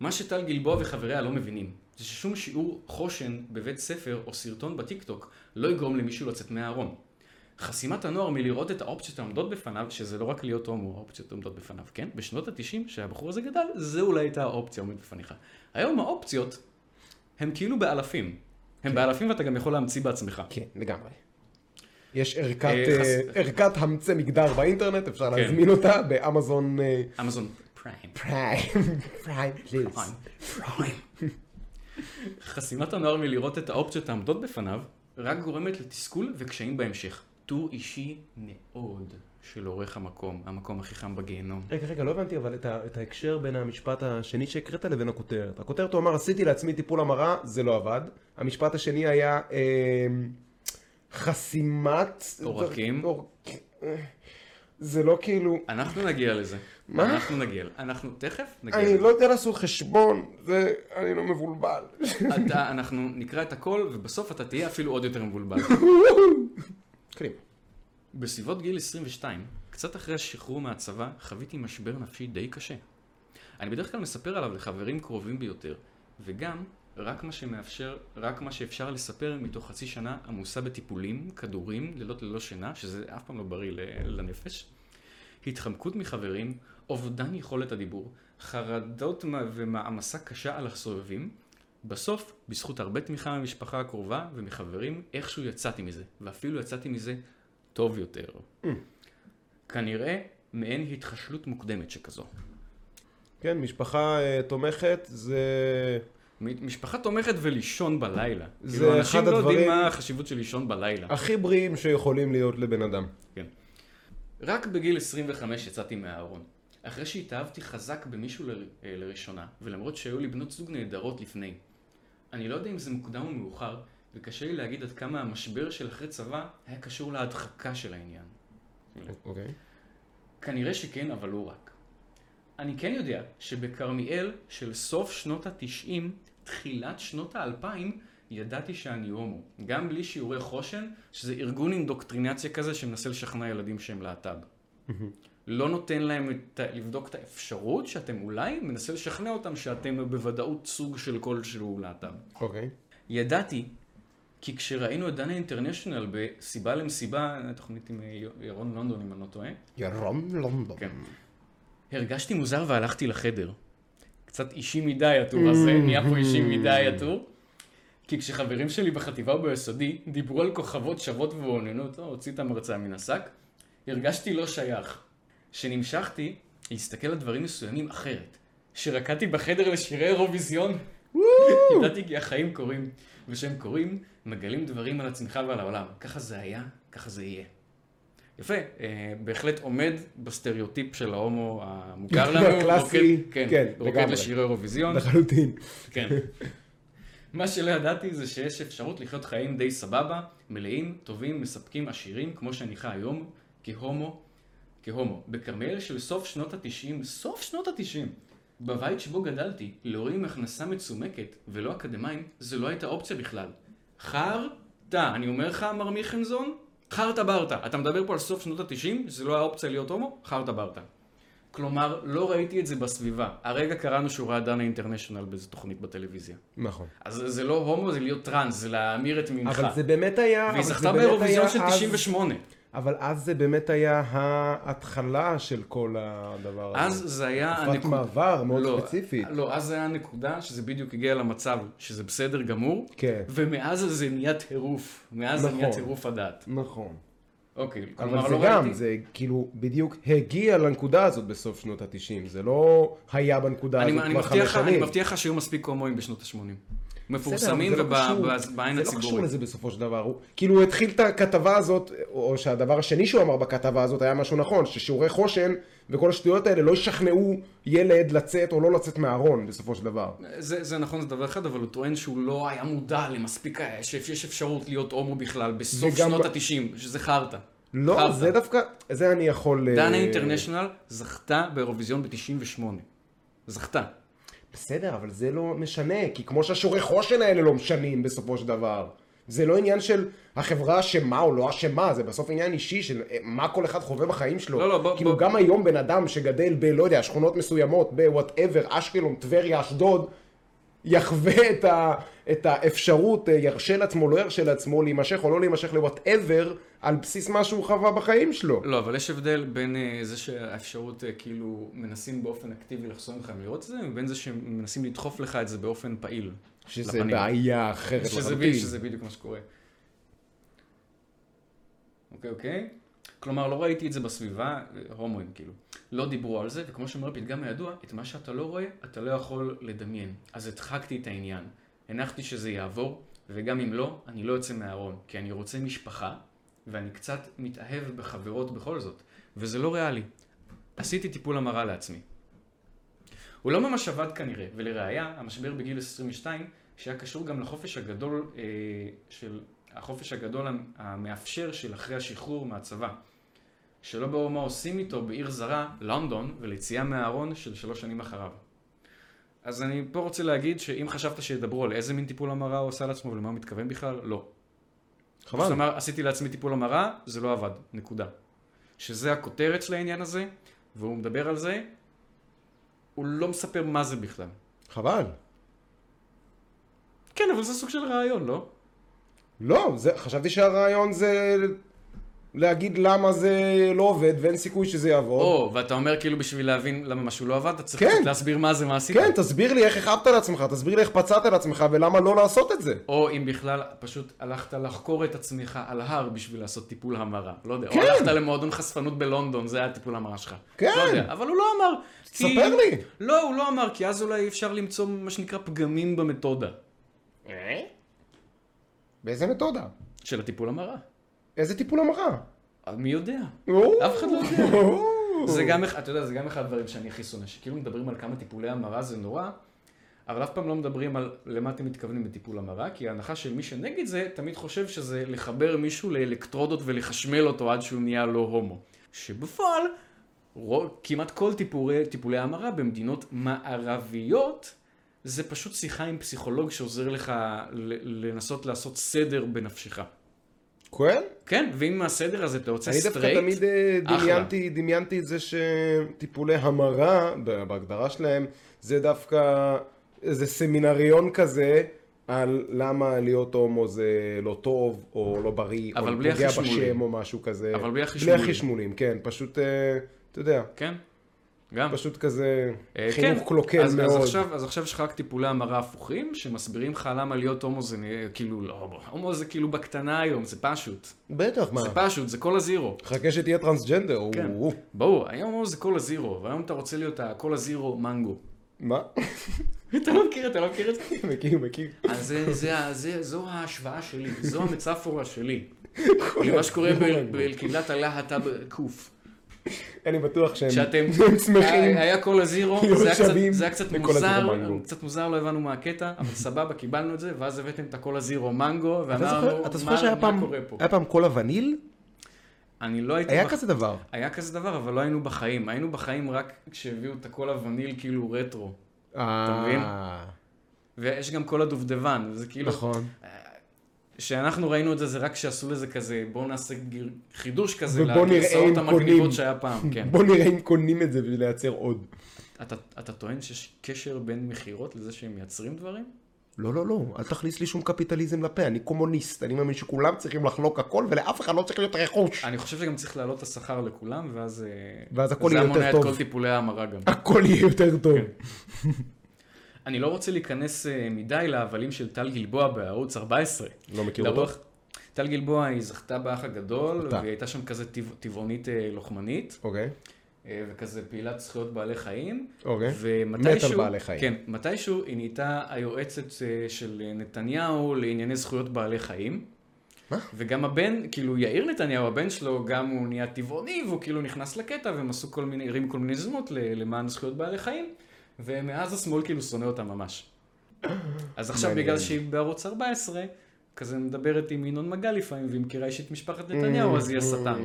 מה שטל גלבוע וחבריה לא מבינים, זה ששום שיעור חושן בבית ספר או סרטון בטיקטוק לא יגרום למישהו לצאת מהארון. חסימת הנוער מלראות את האופציות העומדות בפניו, שזה לא רק להיות הומו, האופציות העומדות בפניו, כן? בשנות ה-90, שהבחור הזה גדל, זה אולי הייתה האופציה העומדת בפניך. היום האופציות הם כאילו באלפים. הם באלפים ואתה גם יכול להמציא בעצמך.
כן, לגמרי. יש ערכת,
אה,
אה,
חס- כן.
ערכת המצא מגדר באינטרנט, אפשר להזמין אותה באמזון אה,
אמזון פריים.
פריים. פריים. פליז.
חסימת הנוער מלראות את האופציות העומדות בפניו, רק גורמת לתסכול וקשיים בהמשך. טור אישי מאוד של עורך המקום, המקום הכי חם בגיהנום.
רגע, רגע, לא הבנתי אבל את, ה- את ההקשר בין המשפט השני שהקראת לבין הכותרת. הכותרת הוא אמר, עשיתי לעצמי טיפול המרה, זה לא עבד. המשפט השני היה אה, חסימת...
עורקים.
אור- אה, זה לא כאילו...
אנחנו נגיע לזה.
מה?
אנחנו נגיע. אנחנו תכף נגיע
אני
לזה.
לא יודע לעשות חשבון, זה... אני לא מבולבל.
אתה, אנחנו נקרא את הכל, ובסוף אתה תהיה אפילו עוד יותר מבולבל.
קדימה.
בסביבות גיל 22, קצת אחרי השחרור מהצבא, חוויתי משבר נפשי די קשה. אני בדרך כלל מספר עליו לחברים קרובים ביותר, וגם רק מה שמאפשר, רק מה שאפשר לספר מתוך חצי שנה עמוסה בטיפולים, כדורים, לילות ללא שינה, שזה אף פעם לא בריא ל- לנפש, התחמקות מחברים, אובדן יכולת הדיבור, חרדות מ- ומעמסה קשה על הסובבים. בסוף, בזכות הרבה תמיכה מהמשפחה הקרובה ומחברים, איכשהו יצאתי מזה, ואפילו יצאתי מזה טוב יותר.
Mm.
כנראה מעין התחשלות מוקדמת שכזו.
כן, משפחה אה, תומכת, זה...
מ- משפחה תומכת ולישון בלילה.
זה
כאילו, אנשים
אחד
לא יודעים
הדברים-
מה החשיבות של לישון בלילה.
הכי בריאים שיכולים להיות לבן אדם.
רק בגיל 25 יצאתי מהארון. אחרי שהתאהבתי חזק במישהו ל- אה, לראשונה, ולמרות שהיו לי בנות זוג נהדרות לפני. אני לא יודע אם זה מוקדם או מאוחר, וקשה לי להגיד עד כמה המשבר של אחרי צבא היה קשור להדחקה של העניין.
אוקיי.
כנראה שכן, אבל לא רק. אני כן יודע שבכרמיאל של סוף שנות התשעים, תחילת שנות האלפיים, ידעתי שאני הומו. גם בלי שיעורי חושן, שזה ארגון אינדוקטרינציה כזה שמנסה לשכנע ילדים שהם להט"ב. לא נותן להם את, ה- לבדוק את האפשרות שאתם אולי מנסה לשכנע אותם שאתם בוודאות סוג של כלשהו להט"ב.
אוקיי.
ידעתי כי כשראינו את דנה אינטרנשיונל בסיבה למסיבה, תוכנית עם אה, ירון לונדון אם אני לא טועה,
ירום לונדון.
כן. הרגשתי מוזר והלכתי לחדר. קצת אישי מדי הטור הזה, נהיה פה אישי מדי הטור. כי כשחברים שלי בחטיבה וביסודי דיברו על כוכבות שוות ואוננות, או, הוציא את המרצע מן השק, הרגשתי לא שייך. שנמשכתי להסתכל על דברים מסוימים אחרת. שרקדתי בחדר לשירי אירוויזיון, ידעתי כי החיים קורים, וכשהם קורים, מגלים דברים על עצמך ועל העולם. ככה זה היה, ככה זה יהיה. יפה, אה, בהחלט עומד בסטריאוטיפ של ההומו המוכר לנו.
הקלאסי,
רוקד- כן,
כן,
רוקד
לגמרי.
לשירי אירוויזיון.
לחלוטין.
כן. מה שלא ידעתי זה שיש אפשרות לחיות חיים די סבבה, מלאים, טובים, מספקים, עשירים, כמו שאני חי היום, כהומו, כהומו. בכרמיאל של סוף שנות התשעים, סוף שנות התשעים, בבית שבו גדלתי, להורים עם הכנסה מצומקת ולא אקדמאים, זה לא הייתה אופציה בכלל. חרטא, אני אומר לך, מר מיכנזון, חרטא ברטא. אתה מדבר פה על סוף שנות התשעים, זה לא היה אופציה להיות הומו, חרטא ברטא. כלומר, לא ראיתי את זה בסביבה. הרגע קראנו שהוא ראה דנה אינטרנשיונל באיזו תוכנית בטלוויזיה.
נכון.
אז זה- זה לא הומו, זה להיות טראנס, זה להמיר את מינך.
אבל זה באמת היה...
והיא
אבל זה
זכתה
באמת
באירוויזיון
היה
של
אז-
98.
אבל אז זה באמת היה ההתחלה של כל הדבר הזה.
אז זה היה
תקופת מעבר מאוד ספציפית.
לא, אז זה היה הנקודה שזה בדיוק הגיע למצב שזה בסדר גמור,
כן.
ומאז זה נהיה טירוף. מאז זה נהיה
נכון.
טירוף הדעת.
נכון.
אוקיי, כלומר
אבל זה
לא
גם,
ראיתי.
זה כאילו בדיוק הגיע לנקודה הזאת בסוף שנות ה-90, זה לא היה בנקודה
אני-
הזאת
אני
כבר
מבטיח
חמש
לך- אני
שנים.
מבטיח לך שהיו מספיק הומואים בשנות ה-80.
בסדר, אבל
מפורסמים
זה לא קשור-
ובעין
זה לא קשור
הציבורית.
לזה בסופו של דבר. הוא, כאילו הוא התחיל את הכתבה הזאת, או שהדבר השני שהוא אמר בכתבה הזאת היה משהו נכון, ששיעורי חושן וכל השטויות האלה לא ישכנעו ילד לצאת או לא לצאת מהארון בסופו של דבר.
זה, זה נכון, זה דבר אחד, אבל הוא טוען שהוא לא היה מודע למספיק, אה, שיש אפשרות להיות הומו בכלל בסוף
וגם
שנות
ב-
ה-90, שזה חרטא.
לא,
חרטא.
זה דווקא, זה אני יכול... אה,
דנה אינטרנשיונל זכתה באירוויזיון ב-98. זכתה.
בסדר, אבל זה לא משנה, כי כמו שהשיעורי חושן האלה לא משנים בסופו של דבר. זה לא עניין של החברה אשמה או לא אשמה, זה בסוף עניין אישי של אה, מה כל אחד חווה בחיים שלו.
לא, לא, בוא-
כאילו
בוא-
גם היום בן אדם שגדל ב, לא יודע, שכונות מסוימות, בוואטאבר, אשקלון, טבריה, אשדוד, יחווה את, ה, את האפשרות, אה, ירשה לעצמו, לא ירשה לעצמו, להימשך או לא להימשך לוואטאבר, על בסיס מה שהוא חווה בחיים שלו.
לא, אבל יש הבדל בין אה, זה שהאפשרות, אה, כאילו, מנסים באופן אקטיבי לחסום לך מלראות את זה, ובין זה שמנסים לדחוף לך את זה באופן פעיל.
שזה
לפנים.
בעיה אחרת
שזה, ב, שזה בדיוק מה שקורה. אוקיי, אוקיי. כלומר, לא ראיתי את זה בסביבה, אה, הומואים כאילו. לא דיברו על זה, וכמו שאומר הפתגם הידוע, את מה שאתה לא רואה, אתה לא יכול לדמיין. אז הדחקתי את העניין. הנחתי שזה יעבור, וגם אם לא, אני לא יוצא מהארון, כי אני רוצה משפחה, ואני קצת מתאהב בחברות בכל זאת, וזה לא ריאלי. עשיתי טיפול המרה לעצמי. הוא לא ממש עבד כנראה, ולראיה, המשבר בגיל 22, שהיה קשור גם לחופש הגדול אה, של, החופש הגדול המ- המאפשר של אחרי השחרור מהצבא. שלא ברור מה עושים איתו בעיר זרה, לונדון, וליציאה מהארון של שלוש שנים אחריו. אז אני פה רוצה להגיד שאם חשבת שידברו על איזה מין טיפול המרה הוא עשה לעצמו ולמה הוא מתכוון בכלל, לא. חבל. זאת אומרת, עשיתי לעצמי טיפול המרה, זה לא עבד, נקודה. שזה הכותרת של העניין הזה, והוא מדבר על זה, הוא לא מספר מה זה בכלל.
חבל.
כן, אבל זה סוג של רעיון, לא?
לא, זה, חשבתי שהרעיון זה להגיד למה זה לא עובד ואין סיכוי שזה יעבור.
או, ואתה אומר כאילו בשביל להבין למה משהו לא עבד, אתה צריך
כן.
קצת להסביר מה זה, מה עשית.
כן, תסביר לי איך הכאבת לעצמך, תסביר לי איך פצעת לעצמך ולמה לא לעשות את זה.
או אם בכלל פשוט הלכת לחקור את עצמך על הר בשביל לעשות טיפול המרה. לא יודע.
כן.
או הלכת למועדון חשפנות בלונדון, זה היה טיפול המרה שלך.
כן.
לא יודע, אבל הוא לא אמר. כי-
ספר לי.
לא, הוא לא אמר, כי אז אולי אפשר למצוא מה שנקרא פגמים במתודה
אה? באיזה מתודה?
של הטיפול המרה.
איזה טיפול המרה?
מי יודע?
או.
אף אחד לא יודע.
או.
זה גם, אחד- אתה יודע, זה גם אחד הדברים שאני הכי שונא, שכאילו מדברים על כמה טיפולי המרה זה נורא, אבל אף פעם לא מדברים על למה אתם מתכוונים בטיפול המרה, כי ההנחה של מי שנגד זה, תמיד חושב שזה לחבר מישהו לאלקטרודות ולחשמל אותו עד שהוא נהיה לא הומו. שבפועל, רוב, כמעט כל טיפולי, טיפולי המרה במדינות מערביות, זה פשוט שיחה עם פסיכולוג שעוזר לך ל- לנסות לעשות סדר בנפשך.
כן?
כן, ואם הסדר הזה אתה רוצה
אני
סטרייט...
דווקא תמיד אה,
אחלה.
דמיינתי, דמיינתי את זה שטיפולי המרה, ב- בהגדרה שלהם, זה דווקא איזה סמינריון כזה על למה להיות הומו זה לא טוב, או לא בריא,
אבל
או
בלי
פוגע
החשמולים.
בשם או משהו כזה.
אבל בלי החשמולים.
בלי החשמולים, כן, פשוט, אה, אתה יודע,
כן, גם.
פשוט כזה
אה,
חינוך
כן.
קלוקל
אז, אז
מאוד.
עכשיו, אז עכשיו יש לך רק טיפולי המרה הפוכים, שמסבירים לך למה להיות הומו זה נראה, כאילו, לא, הומו זה כאילו בקטנה היום, זה פשוט.
בטח, מה?
זה פשוט, זה כל הזירו.
חכה שתהיה טרנסג'נדר,
כן.
הוא...
ברור, היום הומו זה כל הזירו, והיום אתה רוצה להיות ה- כל הזירו מנגו.
מה?
אתה לא מכיר, אתה לא מכיר את זה?
מכיר, מכיר.
אז זה, זה, ה- זה, זו ההשוואה שלי, זו המצפורה שלי. למה שקורה ב- בקהילת הלהט"ב קוף.
אני בטוח שהם
שאתם אה,
הם שמחים.
היה כל הזירו,
להיות
זה היה קצת-
שווים
זה היה קצת
לכל
מוזר,
הזירו מנגו.
קצת מוזר, לא הבנו מה הקטע, אבל סבבה, קיבלנו את זה, ואז הבאתם את הכל הזירו מנגו,
אתה זוכר-
ואמרנו,
אתה זוכר
"מה-
שהיה
מה
פעם,
קורה פה?
היה פעם קולה וניל?
אני לא הייתי...
היה
בח-
כזה דבר.
היה כזה דבר, אבל לא היינו בחיים. היינו בחיים רק כשהביאו את הקולה וניל כאילו רטרו.
אתה
מבין? ויש גם קולה דובדבן, וזה כאילו...
נכון.
כשאנחנו ראינו את זה, זה רק כשעשו לזה כזה, בואו נעשה גיר- חידוש כזה
ובוא נראה אם
לגרסאות
קונים.
המגניבות שהיה פעם, כן.
בוא נראה אם קונים את זה בשביל לייצר עוד.
אתה- אתה טוען שיש קשר בין מכירות לזה שהם מייצרים דברים?
לא, לא, לא, אל תכניס לי שום קפיטליזם לפה, אני קומוניסט, אני מאמין שכולם צריכים לחלוק הכל ולאף אחד לא צריך להיות רכוש.
אני חושב שגם צריך להעלות את השכר לכולם, ואז... אה,
ואז הכל יהיה יותר
זה היה
טוב.
מונע את כל טיפולי ההמרה גם.
הכל יהיה יותר טוב.
אני לא רוצה להיכנס אה, מדי להבלים של טל גלבוע בערוץ 14.
לא מכיר
לרוח-
אותו?
טל גלבוע היא זכתה באח הגדול,
זכתה.
והיא הייתה שם כזה טבע- טבעונית אה, לוחמנית,
אוקיי.
אה, וכזה פעילת זכויות בעלי חיים.
אוקיי.
ומתישהו,
מת על בעלי חיים.
כן, מתישהו היא נהייתה היועצת אה, של אה, נתניהו לענייני זכויות בעלי חיים.
מה?
וגם הבן, כאילו יאיר נתניהו, הבן שלו, גם הוא נהיה טבעוני, והוא כאילו נכנס לקטע, והם עשו כל מיני, הרים כל מיני יוזמות ל- למען זכויות בעלי חיים, ומאז השמאל כאילו שונא אותם ממש. אז עכשיו
מעניין.
בגלל שהיא בערוץ 14, כזה מדברת עם ינון מגל לפעמים, והיא מכירה אישית משפחת
Mm,
נתניהו, אז היא השטן.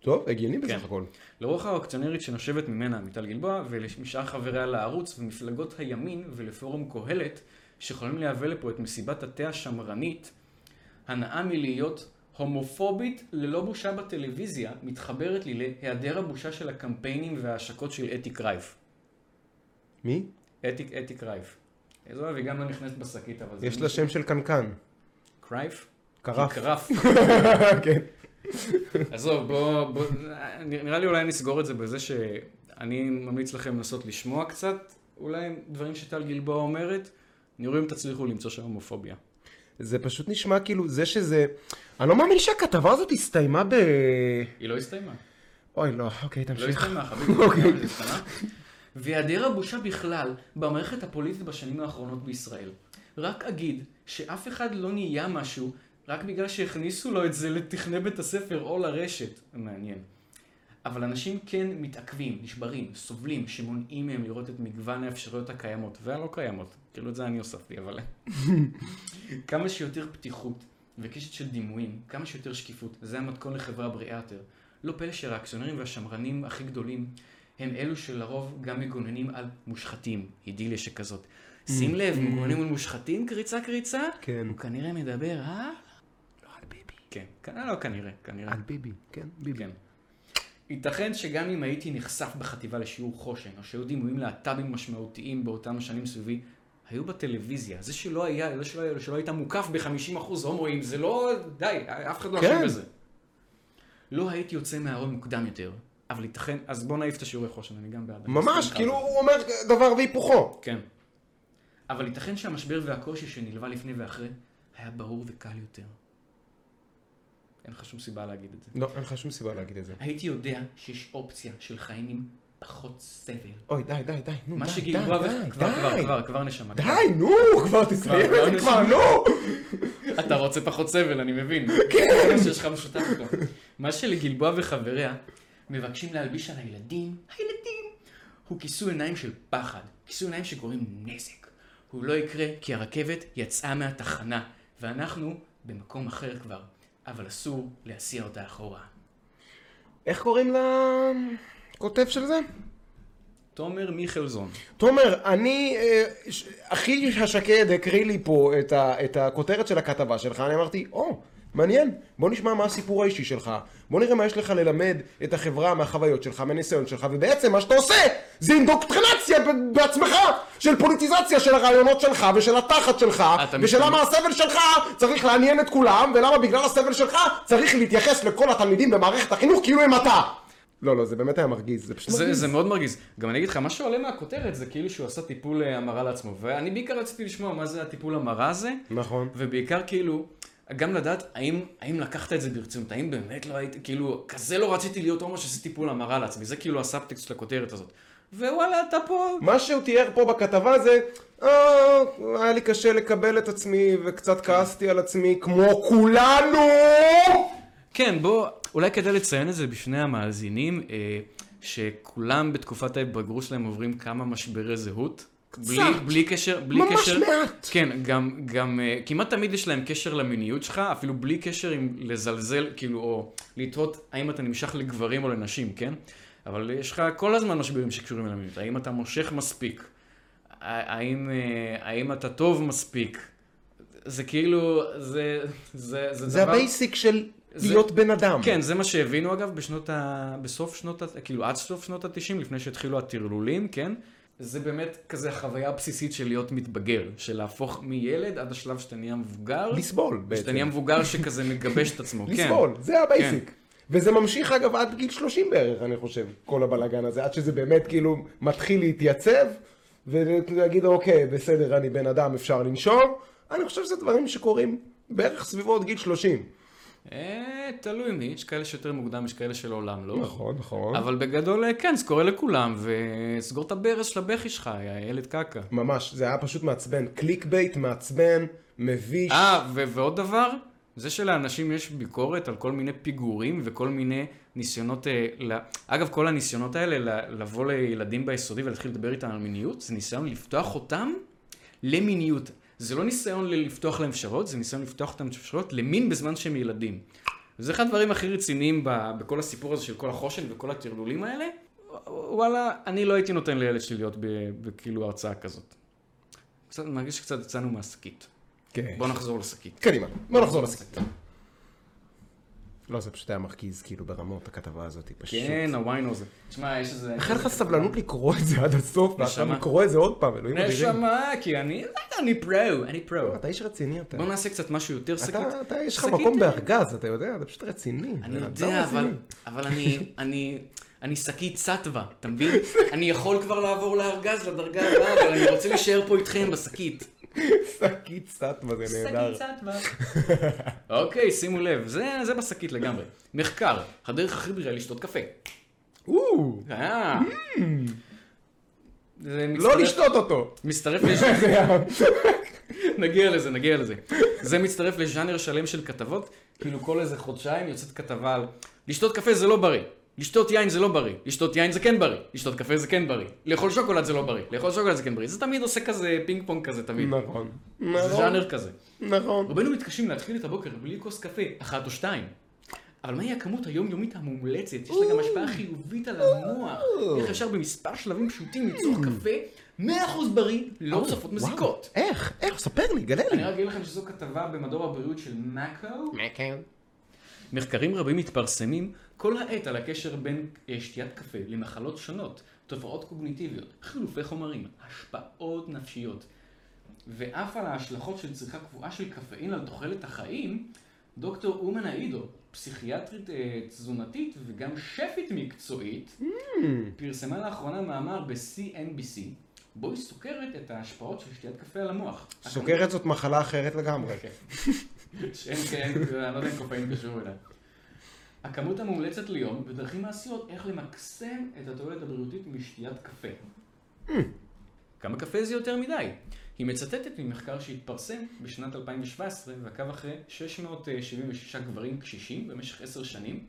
טוב, הגיוני
כן.
בסך הכל.
לרוח האוקציונרית שנושבת ממנה מיטל גלבוע ולמשאר חבריה לערוץ ומפלגות הימין ולפורום קהלת שיכולים לייבא לפה את מסיבת התה השמרנית, הנאה מלהיות הומופובית ללא בושה בטלוויזיה מתחברת לי להיעדר הבושה של הקמפיינים וההשקות של אתי קרייב.
מי?
אתי, אתי קרייב. זו והיא גם לא נכנסת בשקית אבל זה...
יש לה שם של קנקן.
קרייב?
קרף.
קרף.
כן.
עזוב, בוא, בוא, נראה לי אולי נסגור את זה בזה שאני ממליץ לכם לנסות לשמוע קצת, אולי דברים שטל גלבוע אומרת, נראה אם תצליחו למצוא שם הומופוביה.
זה פשוט נשמע כאילו, זה שזה... אני לא מאמין שהכתבה הזאת הסתיימה ב...
היא לא הסתיימה.
אוי, לא, אוקיי,
לא
תמשיך.
הסתיימה, חביבי. זה השתנה. והיעדר הבושה בכלל במערכת הפוליטית בשנים האחרונות בישראל. רק אגיד שאף אחד לא נהיה משהו רק בגלל שהכניסו לו את זה לתכני בית הספר או לרשת. מעניין. אבל אנשים כן מתעכבים, נשברים, סובלים, שמונעים מהם לראות את מגוון האפשרויות הקיימות והלא קיימות. כאילו את זה אני הוספתי, אבל... כמה שיותר פתיחות וקשת של דימויים, כמה שיותר שקיפות, זה המתכון לחברה בריאה יותר. לא פלא שהריאקציונרים והשמרנים הכי גדולים הם אלו שלרוב גם מגוננים על מושחתים, אידיליה שכזאת. שים לב, מגוננים על מושחתים, קריצה קריצה?
כן.
הוא כנראה מדבר, אה? לא על ביבי. כן, כנראה, לא כנראה, כנראה.
על ביבי, כן, ביבי.
כן. ייתכן שגם אם הייתי נחשף בחטיבה לשיעור חושן, או שהיו דימויים להט"בים משמעותיים באותם השנים סביבי, היו בטלוויזיה. זה שלא היה, זה שלא, היה, שלא היית מוקף ב-50% הומואים, זה לא... די, אף אחד לא אשם
כן.
בזה. לא הייתי יוצא מהארון מוקדם יותר, אבל ייתכן... אז בוא נעיף את השיעורי חושן, אני גם בעד. אני
ממש,
מסכים
כאילו
איתך.
הוא אומר דבר והיפוכו.
כן. אבל ייתכן שהמשבר והקושי שנלווה לפני ואחרי, היה ברור וקל יותר. אין לך שום סיבה להגיד את זה.
לא, אין לך שום סיבה להגיד את זה.
הייתי יודע שיש אופציה של חיים עם פחות סבל.
אוי, די, די, די, נו,
מה
די,
שגיל
די,
כבר,
די,
כבר, כבר,
די.
כבר, כבר נשמה.
די, נו, כבר תסיים
כבר, לא
את זה,
כבר
כבר,
נשים-
נו!
אתה רוצה פחות סבל, אני מבין. כן. שיש לך משותף איתו. מה שלגלבוע וחבריה מבקשים להלביש על הילדים, הילדים, הוא כיסוי עיניים של פחד, כיסוי עיניים שגורם נזק. הוא לא יקרה כי הרכבת יצאה מהתחנה, ואנחנו במקום אחר כבר, אבל אסור להסיע אותה אחורה.
איך קוראים לכותב של זה?
תומר מיכלזון.
תומר, אני, אה, ש- אחי השקד הקריא לי פה את, ה, את הכותרת של הכתבה שלך, אני אמרתי, או, מעניין, בוא נשמע מה הסיפור האישי שלך, בוא נראה מה יש לך ללמד את החברה מהחוויות שלך, מהניסיון שלך, ובעצם מה שאתה עושה זה אינדוקטרינציה ב- בעצמך, של פוליטיזציה של הרעיונות שלך ושל התחת שלך,
אתה
ושלמה
משתמש-
הסבל שלך צריך לעניין את כולם, ולמה בגלל הסבל שלך צריך להתייחס לכל התלמידים במערכת החינוך כאילו הם אתה. לא, לא, זה באמת היה מרגיז, זה פשוט
זה,
מרגיז.
זה מאוד מרגיז. גם אני אגיד לך, מה שעולה מהכותרת זה כאילו שהוא עשה טיפול אה, המרה לעצמו. ואני בעיקר רציתי לשמוע מה זה הטיפול המרה הזה.
נכון.
ובעיקר כאילו, גם לדעת האם, האם לקחת את זה ברצינות, האם באמת לא הייתי, כאילו, כזה לא רציתי להיות הומו שעשיתי טיפול המרה לעצמי. זה כאילו הסאבטקסט של הכותרת הזאת. ווואלה, אתה פה...
מה שהוא תיאר פה בכתבה זה, אה, היה לי קשה לקבל את עצמי וקצת כעסתי על עצמי כמו כולנו!
כן, בוא, אולי כדאי לציין את זה בפני המאזינים, אה, שכולם בתקופת ההתבגרות שלהם עוברים כמה משברי זהות. בלי, בלי קשר, בלי
ממש
קשר,
מעט.
כן, גם, גם אה, כמעט תמיד יש להם קשר למיניות שלך, אפילו בלי קשר עם לזלזל, כאילו, או לתהות האם אתה נמשך לגברים או לנשים, כן? אבל יש לך כל הזמן משברים שקשורים למיניות, האם אתה מושך מספיק? ה- האם, אה, האם אתה טוב מספיק? זה כאילו, זה, זה, זה,
זה
דבר...
הבייסיק של
זה-
להיות בן אדם.
כן, זה מה שהבינו אגב בשנות ה... בסוף שנות ה... כאילו עד סוף שנות ה-90, לפני שהתחילו הטרלולים, כן? זה באמת כזה החוויה הבסיסית של להיות מתבגר, של להפוך מילד עד השלב שאתה נהיה מבוגר.
לסבול
שאתה נהיה
בעצם.
מבוגר שכזה מגבש את עצמו, כן.
לסבול, זה הבייסיק. וזה ממשיך אגב עד גיל 30 בערך, אני חושב, כל הבלאגן הזה, עד שזה באמת כאילו מתחיל להתייצב, ולהגיד אוקיי, בסדר, אני בן אדם, אפשר לנשום. אני חושב שזה דברים שקורים בערך סביבות גיל 30.
אה, תלוי מי, יש כאלה שיותר מוקדם, יש כאלה שלעולם לא.
נכון, נכון.
אבל בגדול, אה, כן, זה קורה לכולם, וסגור את הברז של הבכי שלך, יא ילד קקה.
ממש, זה היה פשוט מעצבן. קליק בייט, מעצבן, מביש.
אה, ו- ועוד דבר, זה שלאנשים יש ביקורת על כל מיני פיגורים וכל מיני ניסיונות, אה, ל... אגב, כל הניסיונות האלה ל- לבוא לילדים ביסודי ולהתחיל לדבר איתם על מיניות, זה ניסיון לפתוח אותם למיניות. זה לא ניסיון ל- לפתוח להם אפשרויות, זה ניסיון לפתוח אותם אפשרויות למין בזמן שהם ילדים. זה אחד הדברים הכי רציניים ב- בכל הסיפור הזה של כל החושן וכל הטרלולים האלה. ו- וואלה, אני לא הייתי נותן לילד שלי להיות ב- בכאילו הרצאה כזאת. קצת, מרגיש שקצת יצאנו מהשקית.
כן.
בוא נחזור לשקית.
קדימה, בוא נחזור לסיפור. לא, זה פשוט היה מרגיז, כאילו, ברמות הכתבה הזאת, פשוט.
כן, הוויין הזה. תשמע, יש איזה...
איך אין לך סבלנות לקרוא את זה עד הסוף, ועכשיו
נשמה.
לקרוא את זה עוד פעם, אלוהים אדירים.
נשמה, כי אני... לא אני פרו, אני פרו.
אתה איש רציני, אתה.
בוא נעשה קצת משהו יותר שקית.
אתה, אתה, יש לך
שקית,
מקום
אה,
בארגז, אתה יודע, אתה פשוט רציני.
אני
אתה
יודע,
אדם
אבל-
רציני.
אבל אני... אני... אני שקית סטווה, אתה מבין? אני יכול כבר לעבור לארגז, לדרגה הבאה, אבל אני רוצה להישאר פה איתכם בשקית.
שקית סטמה, זה נהדר.
אוקיי, שימו לב, זה זה בשקית לגמרי. מחקר, הדרך הכי בריאה לשתות קפה.
או,
אה. זה
לא
מצטרף- לא
לשתות אותו.
מצטרף, לש-
זה היה-
נגיע לזה, נגיע לזה. זה מצטרף לז'אנר שלם של כתבות, כאילו כל איזה חודשיים יוצאת כתבה על לשתות קפה זה לא בריא, לשתות יין זה לא בריא, לשתות יין זה כן בריא, לשתות קפה זה כן בריא, לאכול שוקולד זה לא בריא, לאכול שוקולד זה כן בריא. זה תמיד עושה כזה פינג פונג כזה תמיד.
נכון.
זה
נכון.
ז'אנר כזה.
נכון.
רובנו מתקשים להתחיל את הבוקר בלי כוס קפה, אחת או שתיים. אבל מהי הכמות היומיומית המומלצת? יש לה גם השפעה חיובית על המוח. איך אפשר במספר שלבים פשוטים לצרוך קפה 100% בריא, לא תוספות מזיקות.
איך? איך? ספר לי, גלה לי.
אני רק אגיד לכם שזו כתבה במדור הבריאות של מאקו.
כן.
מחקרים רבים מתפרסמים כל העת על הקשר בין אה, שתיית קפה למחלות שונות, תופעות קוגניטיביות, חילופי חומרים, השפעות נפשיות, ואף על ההשלכות של צריכה קבועה של קפאין על תוחלת החיים, דוקטור אומן האידו, פסיכיאטרית אה, תזונתית וגם שפית מקצועית, פרסמה לאחרונה מאמר ב-CNBC, בו היא סוקרת את ההשפעות של שתיית קפה על המוח.
סוכרת זאת מחלה אחרת לגמרי.
שאין כן, אני לא יודע אם קופאין קשור אליה. הכמות המומלצת ליום ודרכים מעשיות איך למקסם את התועלת הבריאותית משתיית קפה. כמה קפה זה יותר מדי? היא מצטטת ממחקר שהתפרסם בשנת 2017 ועקב אחרי 676 גברים קשישים במשך עשר שנים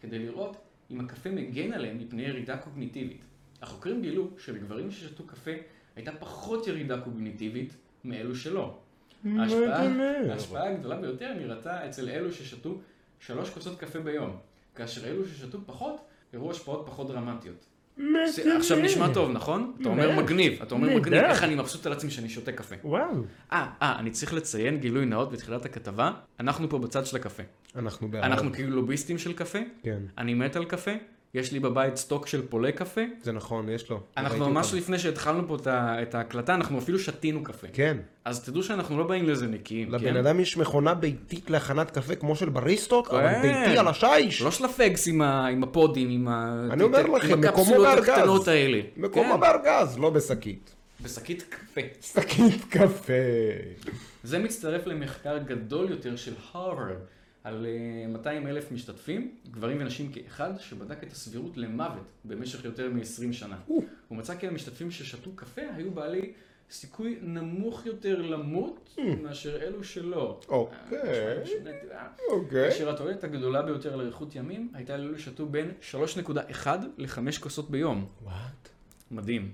כדי לראות אם הקפה מגן עליהם מפני ירידה קוגניטיבית. החוקרים גילו שבגברים ששתו קפה הייתה פחות ירידה קוגניטיבית מאלו שלא. ההשפעה,
אומר?
ההשפעה הגדולה ביותר נראתה אצל אלו ששתו שלוש כוסות קפה ביום, כאשר אלו ששתו פחות הראו השפעות פחות דרמטיות. זה- עכשיו נשמע טוב, נכון? אתה אומר מגניב, אתה אומר מגניב,
נהדר.
איך אני מבסוט על עצמי שאני שותה קפה.
וואו.
אה, אה, אני צריך לציין גילוי נאות בתחילת הכתבה, אנחנו פה בצד של הקפה.
אנחנו בעד.
אנחנו כאילו לוביסטים של קפה,
כן,
אני מת על קפה, יש לי בבית סטוק של פולי קפה.
זה נכון, יש לו.
אנחנו
ראיתי
ממש
אותו.
לפני שהתחלנו פה את ה- את ההקלטה, אנחנו אפילו שתינו קפה.
כן.
אז תדעו שאנחנו לא באים לזה נקיים,
לבן
כן?
אדם יש מכונה ביתית להכנת קפה כמו של בריסטות, אבל
כן.
ביתי על השיש.
לא של הפגס עם ה- עם הפודים, עם ה-
אני אומר
עם
לכם, מקומו
הקפסולות
בארגז.
הקטנות האלה.
מקומו
כן.
בארגז, לא בשקית.
בשקית קפה.
שקית קפה.
זה מצטרף למחקר גדול יותר של הרווארד על 200 אלף משתתפים, גברים ונשים כאחד, שבדק את הסבירות למוות במשך יותר מ-20 שנה. הוא מצא כי המשתתפים ששתו קפה היו בעלי סיכוי נמוך יותר למות מאשר אלו שלא.
אוקיי.
אה, משהו משונה,
אוקיי.
כאשר התועלת הגדולה ביותר לאריכות ימים הייתה לאלו ששתו בין 3.1 ל-5 כוסות ביום.
וואט?
מדהים.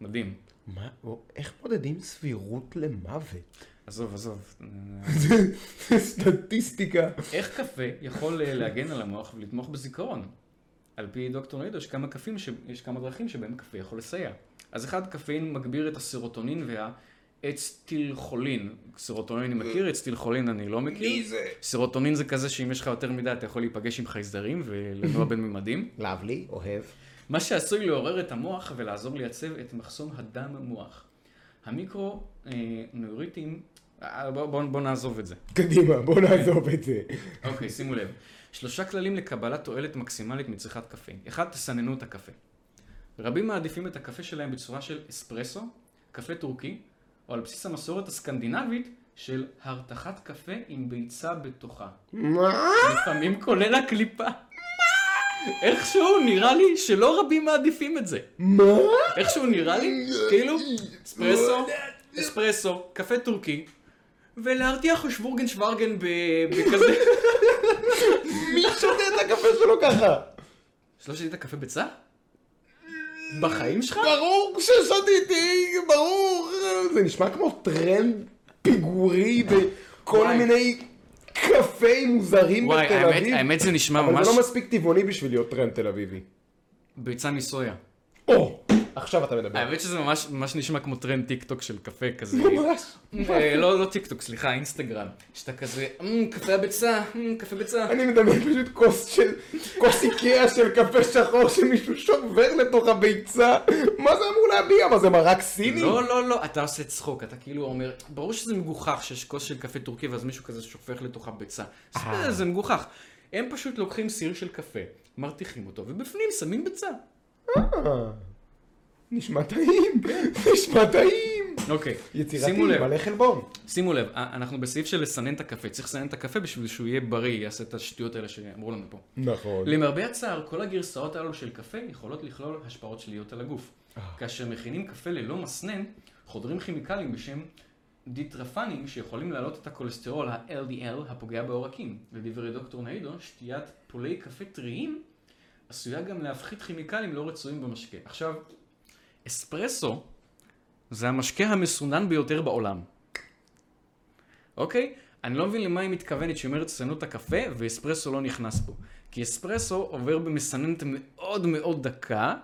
מדהים.
מה? או, איך מודדים סבירות למוות?
עזוב, עזוב.
זה סטטיסטיקה.
איך קפה יכול אה, להגן על המוח ולתמוך בזיכרון? על פי דוקטור נדו, יש כמה, קפים ש... יש כמה דרכים שבהם קפה יכול לסייע. אז אחד, קפאין מגביר את הסרוטונין והאצטילחולין. סרוטונין אני מכיר, אצטילחולין אני לא מכיר.
מי זה?
סרוטונין זה כזה שאם יש לך יותר מדי אתה יכול להיפגש עם חייזרים ולנוע בין ממדים.
לבלי, אוהב.
מה שעשוי לעורר את המוח ולעזור לייצב את מחסום הדם מוח. המיקרו-נוריטים, בואו אה, בוא, בוא נעזוב את זה.
קדימה, בוא נעזוב את זה.
אוקיי, שימו לב. שלושה כללים לקבלת תועלת מקסימלית מצריכת קפה. אחד, תסננו את הקפה. רבים מעדיפים את הקפה שלהם בצורה של אספרסו, קפה טורקי, או על בסיס המסורת הסקנדינבית של הרתחת קפה עם ביצה בתוכה.
מה?
לפעמים כולל הקליפה. איכשהו נראה לי שלא רבים מעדיפים את זה.
מה?
איכשהו נראה לי, כאילו, אספרסו, אספרסו, קפה טורקי, ולהרתיח שווורגן שווארגן ב- בכזה...
מי שותה את הקפה שלו ככה?
שלא שתית קפה ביצה? בחיים שלך?
ברור ששתיתי, ברור. זה נשמע כמו טרנד פיגורי בכל
וואי.
מיני קפי מוזרים
וואי,
בתל
האמת,
אביב.
האמת זה נשמע
אבל
ממש
זה לא מספיק טבעוני בשביל להיות טרנד תל אביבי.
ביצה מסויה.
או, עכשיו אתה מדבר.
האמת שזה ממש, ממש נשמע כמו טרנד טיק טוק של קפה כזה.
ממש.
אה, לא, לא טיק טוק, סליחה, אינסטגרם. שאתה כזה, "אמ, קפה הביצה, אמ, קפה ביצה.
אני מדמיין פשוט כוס של, כוס איקאה של קפה שחור שמישהו שובר לתוך הביצה. מה זה אמור להביע? מה זה מרק סיני?
לא, לא, לא, אתה עושה צחוק, אתה כאילו אומר, ברור שזה מגוחך שיש כוס של קפה טורקי ואז מישהו כזה שופך לתוכה ביצה. זה- זה מגוחך. הם פשוט לוקחים סיר של קפה, מרתיחים אותו, ובפנים שמים ביצה.
אה, נשמע טעים, נשמע טעים.
אוקיי,
יצירתי,
כן. שימו לב.
מלא חלבון.
שימו לב, א- אנחנו בסעיף של לסנן את הקפה, צריך לסנן את הקפה בשביל שהוא יהיה בריא, יעשה את השטויות האלה שאמרו לנו פה.
נכון.
למרבה הצער, כל הגרסאות הללו של קפה יכולות לכלול השפעות שליליות על הגוף. כאשר מכינים קפה ללא מסנן, חודרים כימיקלים בשם דיטרפנים שיכולים להעלות את הכולסטרול, ה-LDL, הפוגע בעורקים. לדברי דוקטור נאידו, שתיית פולי קפה טריים עשויה גם להפחית כימיקלים לא רצויים במשקה. עכשיו, אספרסו זה המשקה המסונן ביותר בעולם. אוקיי? אני לא מבין למה היא מתכוונת שהיא אומרת תסננו את הקפה ואספרסו לא נכנס בו. כי אספרסו עובר במסננת מאוד מאוד דקה,